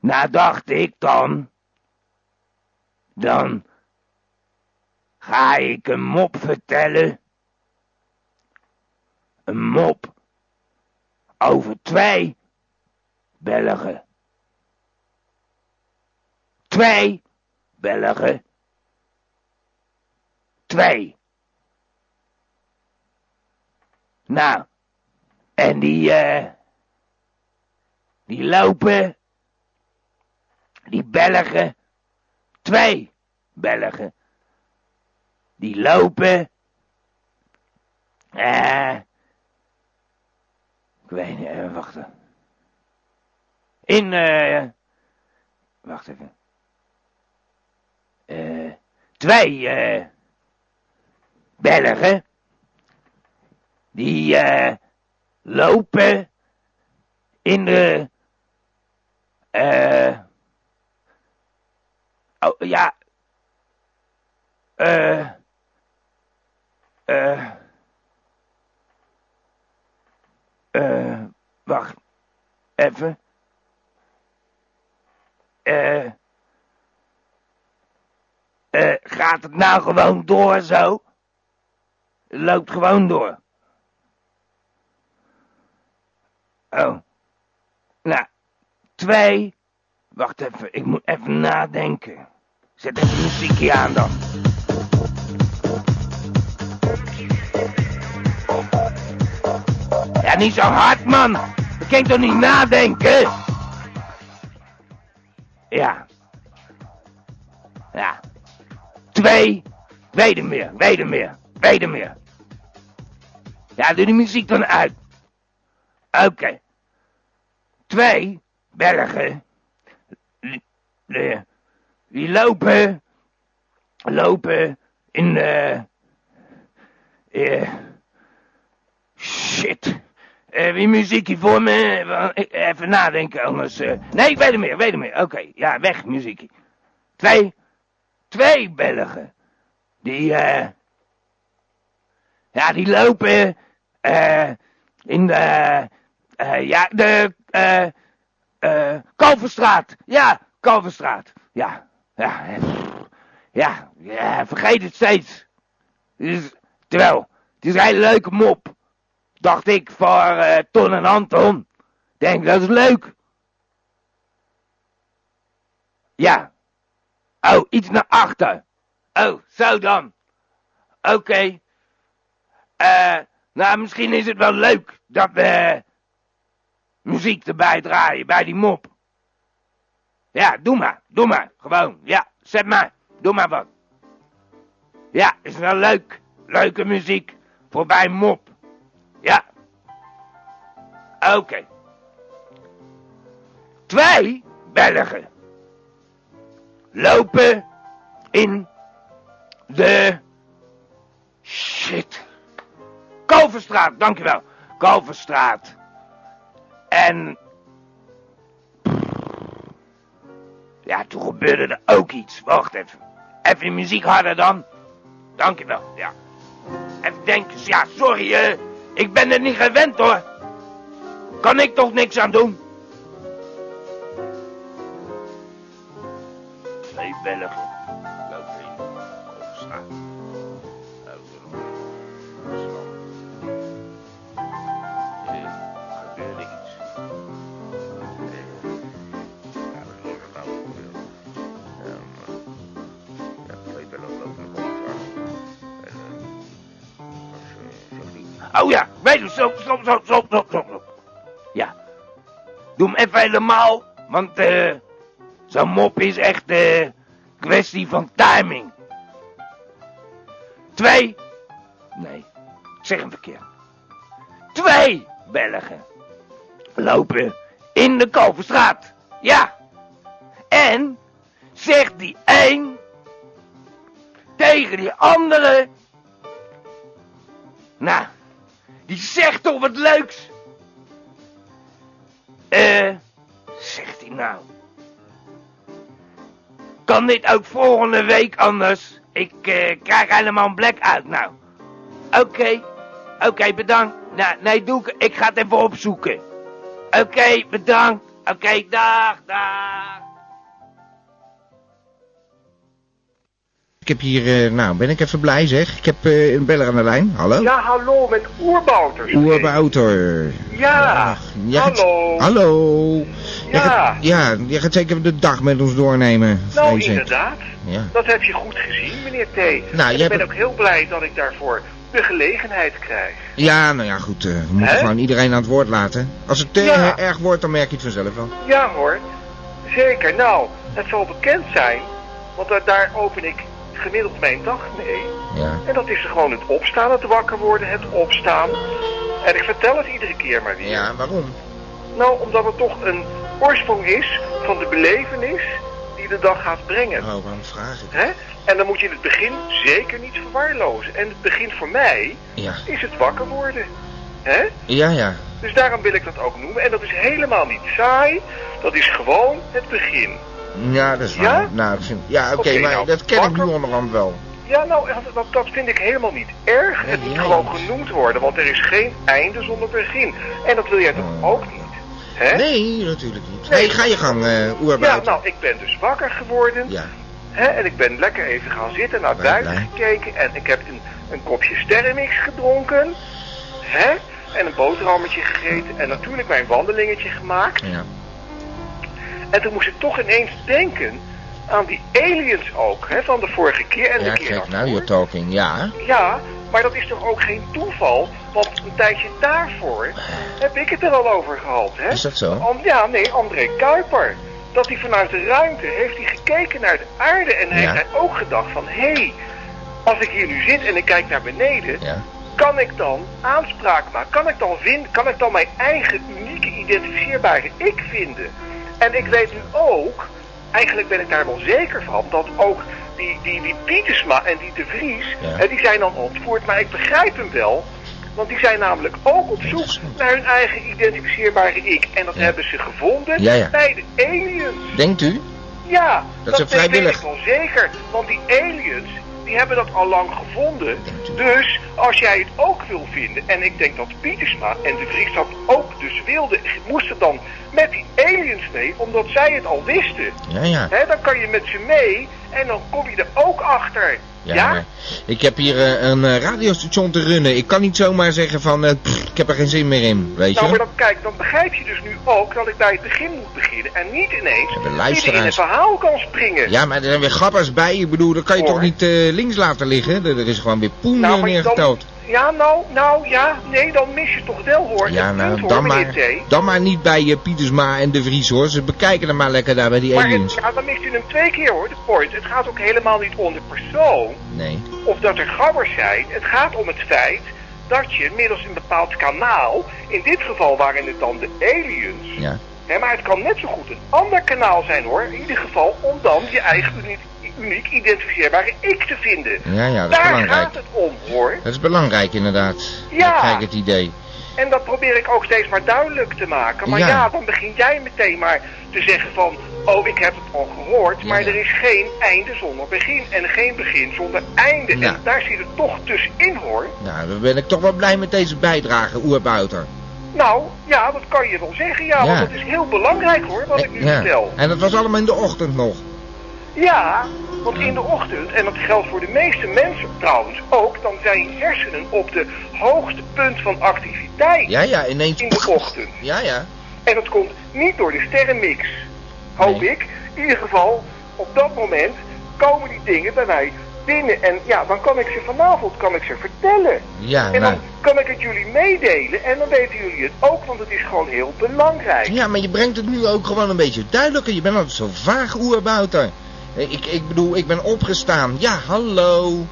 Speaker 15: Nou dacht ik dan, dan ga ik een mop vertellen. Een mop over twee Belgen. Twee Belgen. Twee. Nou, en die, eh, die lopen, die Belgen, twee Belgen, die lopen, eh, ik weet niet, eh, wacht even. In, eh. wacht even. Eh. twee, eh. Belgen. Die, eh. lopen. in de. eh. oh ja. Eh. Eh. Eh. wacht. Even. Eh. Eh, gaat het nou gewoon door zo? Het loopt gewoon door. Oh. Nou, twee. Wacht even, ik moet even nadenken. Zet even muziekje aan dan. Ja, niet zo hard, man. We kan toch niet nadenken? Ja. Ja. Twee. Wedemeer, Wedemeer, Wedemeer. Ja, doe die muziek dan uit. Oké. Twee Belgen. li- eh, Die lopen. Lopen in. eh. eh, shit. Eh, wie muziek hier voor me? Want ik- Even nadenken, anders. eh, nee, ik weet het meer, ik weet het meer. Oké, ja, weg, muziekie. Twee. Twee Belgen. Die, eh. Ja, die lopen. eh, in de. eh, ja, de. eh eh, Kalverstraat. Ja, Kalverstraat. Ja, ja. eh, Ja, ja, vergeet het steeds. Dus, terwijl, het is een hele leuke mop. Dacht ik voor eh, Ton en Anton. Denk, dat is leuk. Ja. Oh, iets naar achter. Oh, zo dan. Oké. Eh, nou, misschien is het wel leuk dat we eh, muziek erbij draaien bij die mop. Ja, doe maar. Doe maar. Gewoon. Ja, zet maar. Doe maar wat. Ja, is wel leuk. Leuke muziek voor bij mop. Ja. Oké. Twee Belgen lopen in de shit. Kalverstraat, dankjewel. Kalverstraat. En. Ja, toen gebeurde er ook iets. Wacht even. Even die muziek harder dan. Dankjewel, ja. Even denken, ja, sorry, eh, ik ben er niet gewend hoor. Kan ik toch niks aan doen? Twee Belgen. Lopen in. Kalverstraat. Lopen in. Eh, Gebeurde iets. Oh ja, weet je, stop, stop, stop, stop, stop, stop, stop. Ja. Doe hem even helemaal, want eh, zo'n mop is echt eh kwestie van timing. Twee. Nee, ik zeg hem verkeerd. Twee Belgen lopen in de Kalverstraat. Ja. En zegt die een tegen die andere. Nou, die zegt toch wat leuks. Eh, zegt hij nou. Kan dit ook volgende week anders? Ik eh, krijg helemaal een blackout nou. Oké, oké, bedankt. Nou, nee, doe ik. Ik ga het even opzoeken. Oké, bedankt. Oké, dag, dag.
Speaker 2: Ik heb hier, eh, nou ben ik even blij zeg. Ik heb eh, een beller aan de lijn. Hallo? eh,
Speaker 7: Ja, hallo, met oerbouters.
Speaker 2: Oerbouter.
Speaker 7: Ja,
Speaker 2: Jij gaat-
Speaker 7: hallo.
Speaker 2: Hallo. Jij
Speaker 7: Ja.
Speaker 2: gaat- ja, je gaat zeker de dag met ons doornemen.
Speaker 7: Nou,
Speaker 2: vrees ik.
Speaker 7: inderdaad.
Speaker 2: Ja.
Speaker 7: Dat heb je goed gezien, meneer T.
Speaker 2: Nou,
Speaker 7: En
Speaker 2: jij
Speaker 7: ik ben
Speaker 2: hebt-
Speaker 7: ook heel blij dat ik daarvoor de gelegenheid krijg.
Speaker 2: Ja, nou ja, goed. eh, we moeten
Speaker 7: Hè?
Speaker 2: gewoon iedereen aan het woord laten. Als het te
Speaker 7: Ja.
Speaker 2: erg wordt, dan merk je het vanzelf wel.
Speaker 7: Ja hoor, zeker. Nou, het zal bekend zijn, want daar, daar open ik gemiddeld mijn dag mee.
Speaker 2: Ja.
Speaker 7: En dat is gewoon het opstaan, het wakker worden, het opstaan. En ik vertel het iedere keer maar weer.
Speaker 2: Ja, waarom?
Speaker 7: Nou, omdat het toch een oorsprong is van de belevenis die de dag gaat brengen.
Speaker 2: Oh, waarom vraag ik?
Speaker 7: Hè? En dan moet je in het begin zeker niet verwaarlozen. En het begin voor mij
Speaker 2: Ja.
Speaker 7: is het wakker worden. Hè?
Speaker 2: Ja, ja.
Speaker 7: Dus daarom wil ik dat ook noemen. En dat is helemaal niet saai. Dat is gewoon het begin.
Speaker 2: Ja, dat is waar.
Speaker 7: Ja?
Speaker 2: Nou, ik vind- ja, oké,
Speaker 7: Oké,
Speaker 2: maar
Speaker 7: nou,
Speaker 2: dat ken ik nu onderhand wel.
Speaker 7: Ja, nou, dat, dat vind ik helemaal niet erg. het moet gewoon genoemd worden, want er is geen einde zonder begin. En dat wil jij toch ook niet? Hè?
Speaker 2: Nee, natuurlijk niet. Nee, ga je gang, eh
Speaker 7: Ja,
Speaker 2: Oerbouter.
Speaker 7: nou, ik ben dus wakker geworden.
Speaker 2: Ja.
Speaker 7: Hè, en ik ben lekker even gaan zitten, naar buiten gekeken. En ik heb een, een kopje sterrenmix gedronken. Hè? En een boterhammetje gegeten. En natuurlijk mijn wandelingetje gemaakt.
Speaker 2: Ja.
Speaker 7: En toen moest ik toch ineens denken aan die aliens ook, hè, van de vorige keer en
Speaker 2: Ja,
Speaker 7: de keer
Speaker 2: kijk, nou you're talking, ja.
Speaker 7: Ja, maar dat is toch ook geen toeval? Want een tijdje daarvoor heb ik het er al over gehad, hè?
Speaker 2: Ah.
Speaker 7: Oh,
Speaker 2: Is dat zo?
Speaker 7: An- ja, nee, André Kuiper. Dat hij vanuit de ruimte heeft hij gekeken naar de aarde en heeft hij ook gedacht van... hé, hey, als ik hier nu zit en ik kijk naar beneden... kan ik dan aanspraak maken? Kan ik dan, vinden, kan ik dan mijn eigen unieke identificeerbare ik vinden? En ik weet nu ook, eigenlijk ben ik daar wel zeker van... dat ook die, die, die Pietersma en die De Vries,
Speaker 2: Ja.
Speaker 7: hè, die zijn dan ontvoerd. Maar ik begrijp hem wel... Want die zijn namelijk ook op zoek naar hun eigen identificeerbare ik. En dat hebben ze gevonden
Speaker 2: Ja, ja.
Speaker 7: bij de aliens.
Speaker 2: Denkt u?
Speaker 7: Ja,
Speaker 2: Dat ze vrijwillig-
Speaker 7: weet ik wel zeker. Want die aliens, die hebben dat al lang gevonden. Dus als jij het ook wil vinden, en ik denk dat Pietersma en de Vries dat ook dus wilden, moesten dan met die aliens mee, omdat zij het al wisten.
Speaker 2: Ja, ja.
Speaker 7: Hè, dan kan je met ze mee en dan kom je er ook achter.
Speaker 2: Ja, maar ik heb hier eh, een eh, radiostation te runnen. Ik kan niet zomaar zeggen van, eh, pff, ik heb er geen zin meer in, weet je.
Speaker 7: nou, maar dan, kijk, dan begrijp je dus nu ook dat ik bij het begin moet beginnen en niet ineens
Speaker 2: Ja, de
Speaker 7: midden in het
Speaker 2: luisteraars.
Speaker 7: verhaal kan springen.
Speaker 2: Ja, maar er zijn weer grappers bij. Ik bedoel, dat kan je toch niet eh, links laten liggen? Er, er is gewoon weer poen eh,
Speaker 7: Nou, maar
Speaker 2: neergeteld.
Speaker 7: Dan, ja, nou, nou, ja, nee, dan mis je toch wel hoor.
Speaker 2: Ja,
Speaker 7: Het punt,
Speaker 2: nou,
Speaker 7: hoor,
Speaker 2: dan
Speaker 7: meneer
Speaker 2: maar,
Speaker 7: T.
Speaker 2: dan maar niet bij eh, Pietersma en de Vries, hoor. Ze bekijken hem maar lekker daar bij die
Speaker 7: Maar het,
Speaker 2: aliens.
Speaker 7: ja, dan mist u hem twee keer hoor, de point. Het gaat ook helemaal niet om de persoon
Speaker 2: Nee.
Speaker 7: of dat er grabbers zijn. Het gaat om het feit dat je middels een bepaald kanaal, in dit geval waren het dan de aliens.
Speaker 2: Ja.
Speaker 7: Hè, maar het kan net zo goed een ander kanaal zijn hoor. In ieder geval om dan je eigen uniek, uniek identificeerbare ik te vinden.
Speaker 2: Ja, ja, dat is
Speaker 7: Daar
Speaker 2: belangrijk.
Speaker 7: gaat het om hoor.
Speaker 2: Dat is belangrijk, inderdaad.
Speaker 7: Ja.
Speaker 2: Dat krijg ik het idee.
Speaker 7: En dat probeer ik ook steeds maar duidelijk te maken. Maar
Speaker 2: Ja.
Speaker 7: ja, dan begin jij meteen maar te zeggen van... Oh, ik heb het al gehoord, maar er is geen einde zonder begin. En geen begin zonder einde.
Speaker 2: Ja.
Speaker 7: En daar zit het toch tussenin, hoor.
Speaker 2: Nou, dan ben ik toch wel blij met deze bijdrage, Oerbouter.
Speaker 7: Nou, ja, dat kan je wel zeggen, ja.
Speaker 2: Ja.
Speaker 7: Want dat is heel belangrijk, hoor, wat ik nu vertel.
Speaker 2: En dat was allemaal in de ochtend nog.
Speaker 7: Ja, want in de ochtend, en dat geldt voor de meeste mensen trouwens ook... dan zijn je hersenen op de hoogste punt van activiteit.
Speaker 2: Ja, ja, ineens...
Speaker 7: In de ochtend.
Speaker 2: Ja, ja.
Speaker 7: En dat komt niet door de sterrenmix. Hoop ik. In ieder geval, op dat moment komen die dingen bij mij binnen. En ja, dan kan ik ze vanavond kan ik ze vertellen.
Speaker 2: Ja,
Speaker 7: en
Speaker 2: nou.
Speaker 7: dan kan ik het jullie meedelen. En dan weten jullie het ook, want het is gewoon heel belangrijk.
Speaker 2: Ja, maar je brengt het nu ook gewoon een beetje duidelijker. Je bent altijd zo vaag, Oerbouter. Ik, ik bedoel, ik ben opgestaan. Ja, hallo.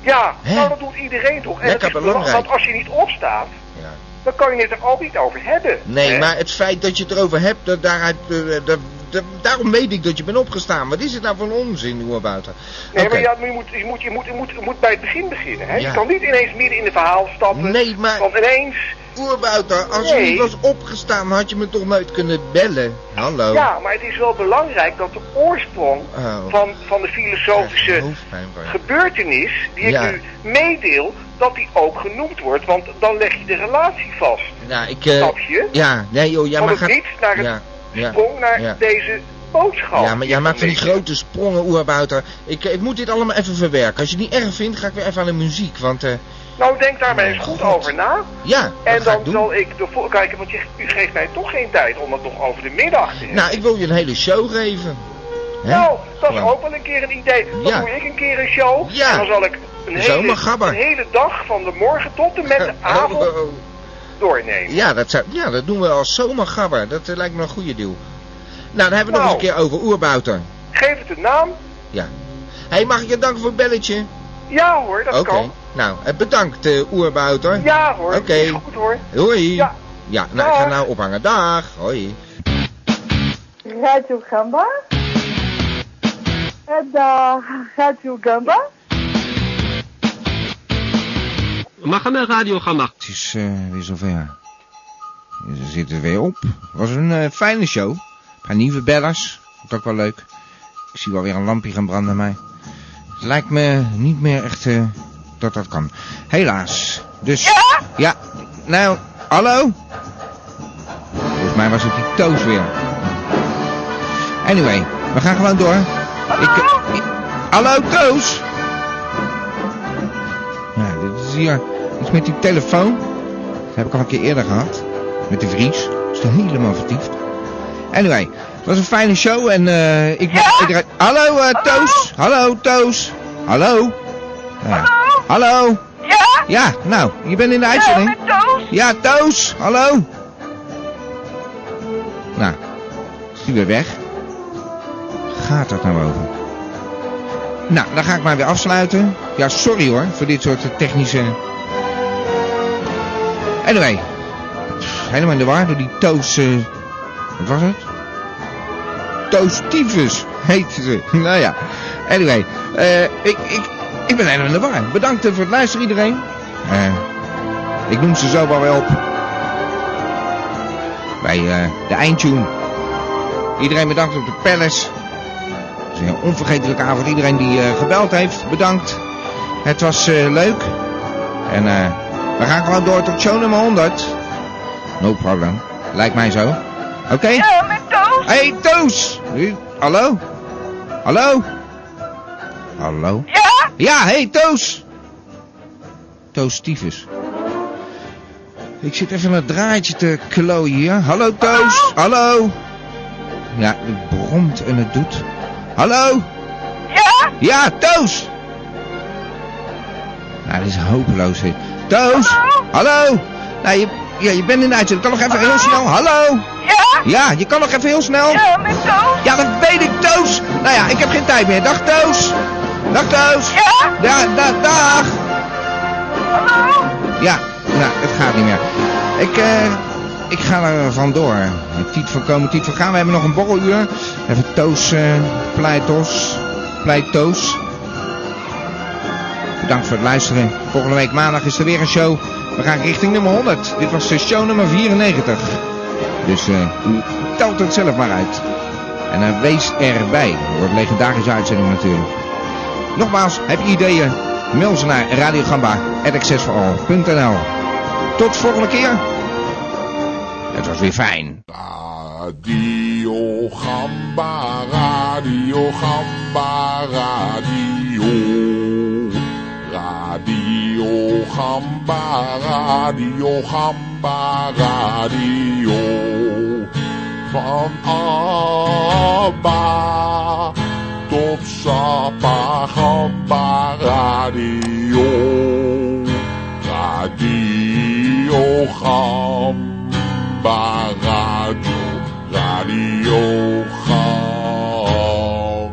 Speaker 7: Ja, nou dat doet iedereen toch. En
Speaker 2: Lekker
Speaker 7: het is belang-
Speaker 2: belangrijk.
Speaker 7: Want als je niet opstaat,
Speaker 2: Ja.
Speaker 7: dan kan je het er ook niet over hebben.
Speaker 2: Nee,
Speaker 7: hè?
Speaker 2: maar het feit dat je het erover hebt, dat daaruit, eh, dat- dat- daarom weet ik dat je bent opgestaan. Wat is het nou voor onzin, Oerbouter?
Speaker 7: Nee,
Speaker 2: Oké.
Speaker 7: maar ja, je, moet, je, moet, je, moet, je, moet, je moet bij het begin beginnen. Hè?
Speaker 2: Ja.
Speaker 7: Je kan niet ineens midden in het verhaal stappen.
Speaker 2: Nee, maar...
Speaker 7: Want ineens...
Speaker 2: Oerbouter, als je
Speaker 7: Nee.
Speaker 2: niet was opgestaan, had je me toch nooit kunnen bellen. Hallo.
Speaker 7: Ja, maar het is wel belangrijk dat de oorsprong
Speaker 2: Oh.
Speaker 7: van, van de filosofische
Speaker 2: Fijnbaar.
Speaker 7: gebeurtenis die ik
Speaker 2: Oh, Ja.
Speaker 7: nu meedeel, dat die ook genoemd wordt. Want dan leg je de relatie vast.
Speaker 2: Nou, ik... eh,
Speaker 7: Snap je?
Speaker 2: Ja, nee joh, jij
Speaker 7: Van
Speaker 2: maar
Speaker 7: het niets naar het
Speaker 2: ja, ja,
Speaker 7: sprong naar
Speaker 2: ja.
Speaker 7: deze boodschap.
Speaker 2: Ja, maar jij maakt van die grote sprongen, Oerbouter. Ik, eh, ik moet dit allemaal even verwerken. Als je het niet erg vindt, ga ik weer even aan de muziek, want... eh,
Speaker 7: Nou, denk daar maar eens goed over na.
Speaker 2: ja,
Speaker 7: En dan zal ik de vol- kijken, want je, u geeft mij toch geen tijd om dat nog over de middag te hebben.
Speaker 2: nou, ik wil je een hele show geven. Hè?
Speaker 7: Nou, dat is
Speaker 2: Gewoon.
Speaker 7: ook wel een keer een idee. Dan
Speaker 2: Ja.
Speaker 7: doe ik een keer een show.
Speaker 2: Ja.
Speaker 7: En dan zal ik een
Speaker 2: Zo,
Speaker 7: hele,
Speaker 2: maar gabber. Oh,
Speaker 7: een hele dag van de morgen tot en
Speaker 2: [LAUGHS]
Speaker 7: met de avond doornemen.
Speaker 2: Ja, dat, zou, ja, dat doen we als zomergabber. Dat eh, lijkt me een goede deal. Nou, dan hebben we nog
Speaker 7: Nou.
Speaker 2: eens een keer over Oerbouter.
Speaker 7: Geef het een naam.
Speaker 2: Ja. Hé, hey, mag ik je danken voor het belletje?
Speaker 7: Ja hoor, dat
Speaker 2: Oké.
Speaker 7: kan.
Speaker 2: Nou, eh, bedankt eh Oerbouter.
Speaker 7: Ja hoor,
Speaker 2: Oké.
Speaker 7: is goed hoor.
Speaker 2: Hoi. Ja. nou, ik ga
Speaker 16: Dag.
Speaker 2: nou ophangen. Dag. Hoi.
Speaker 16: Radio Gamba. Het eh, Radio Gamba.
Speaker 2: Magana Radio Gamma. Het is eh, weer zover. Ze zitten er weer op. Was een eh, fijne show. Een paar nieuwe bellers. Vond ik ook wel leuk. Ik zie wel weer een lampje gaan branden bij mij. Het lijkt me niet meer echt eh, dat dat kan. Helaas. Dus. Ja? Nou, hallo? Volgens mij was het die toos weer. Anyway, we gaan gewoon door. Ik, ik- hallo Toos? Ja, dit is hier iets met die telefoon. Dat heb ik al een keer eerder gehad. Met de Vries. Dat is toch helemaal vertiefd. Anyway, het was een fijne show en eh, ik... iedereen- Hallo, eh, Toos. Hallo, Toos. Hallo. Ja. Hallo.
Speaker 5: Ja?
Speaker 2: Ja, nou, je bent in de uitzending.
Speaker 5: met Toos?
Speaker 2: Ja, Toos. Hallo. Nou, is die weer weg? Gaat dat nou over? Nou, dan ga ik maar weer afsluiten. Ja, sorry hoor, voor dit soort technische... Anyway, pff, helemaal in de war door die Toos... eh, wat was het? Toastivus heette ze. [LAUGHS] Nou ja, anyway. eh, ik, ik, ik ben helemaal in de war. Bedankt eh, voor het luisteren iedereen. Eh, ik noem ze zo wel weer op. Bij eh, de eindtune. Iedereen bedankt op de Palace. Het is een onvergetelijke avond. Iedereen die eh, gebeld heeft, bedankt. Het was eh, leuk. En eh, we gaan gewoon door tot show nummer 100. No problem. Lijkt mij zo. Oké?
Speaker 5: Ja, met Toos.
Speaker 2: Hey Toos! U- Hallo? Hallo? Hallo?
Speaker 5: Ja?
Speaker 2: Ja, hey Toos! Toos Tyfus. Ik zit even een draadje te klooien hier. Hallo Toos! Hallo? Ja, het bromt en het doet. Hallo?
Speaker 5: Ja?
Speaker 2: Ja, Toos! Nou, dit is hopeloos. hè. Toos! Hallo? Nou, je, ja, je bent in de uitzending. Kan nog even heel snel. Hallo?
Speaker 5: Ja?
Speaker 2: Ja, je kan nog even heel snel.
Speaker 5: Ja, met Toos.
Speaker 2: Ja, dat weet ik, Toos. Nou ja, ik heb geen tijd meer. Dag, Toos. Dag, Toos.
Speaker 5: Ja?
Speaker 9: Ah!
Speaker 2: Da, da, dag.
Speaker 5: Hallo?
Speaker 2: Ja, nou, het gaat niet meer. Ik, eh, ik ga er vandoor. Tiet voor komen, tiet voor gaan. We hebben nog een borreluur. Even Toos, eh pleitos, pleitoos. Bedankt voor het luisteren. Volgende week maandag is er weer een show. We gaan richting nummer 100. Dit was eh, show nummer 94. Dus eh, u telt het zelf maar uit. En eh, wees erbij. Het wordt een legendarische uitzending natuurlijk. Nogmaals, heb je ideeën? Mail ze naar radiogamba.accessforall.nl Tot volgende keer. Het was weer fijn.
Speaker 17: Radio Gamba, Radio Gamba, Radio. Radio Gamba, Radio Gamba, Radio. Van Abba tot Sapa Gamba, Radio. Radio Gamba, Radio. Radio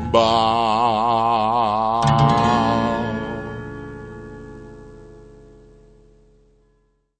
Speaker 17: Gamba.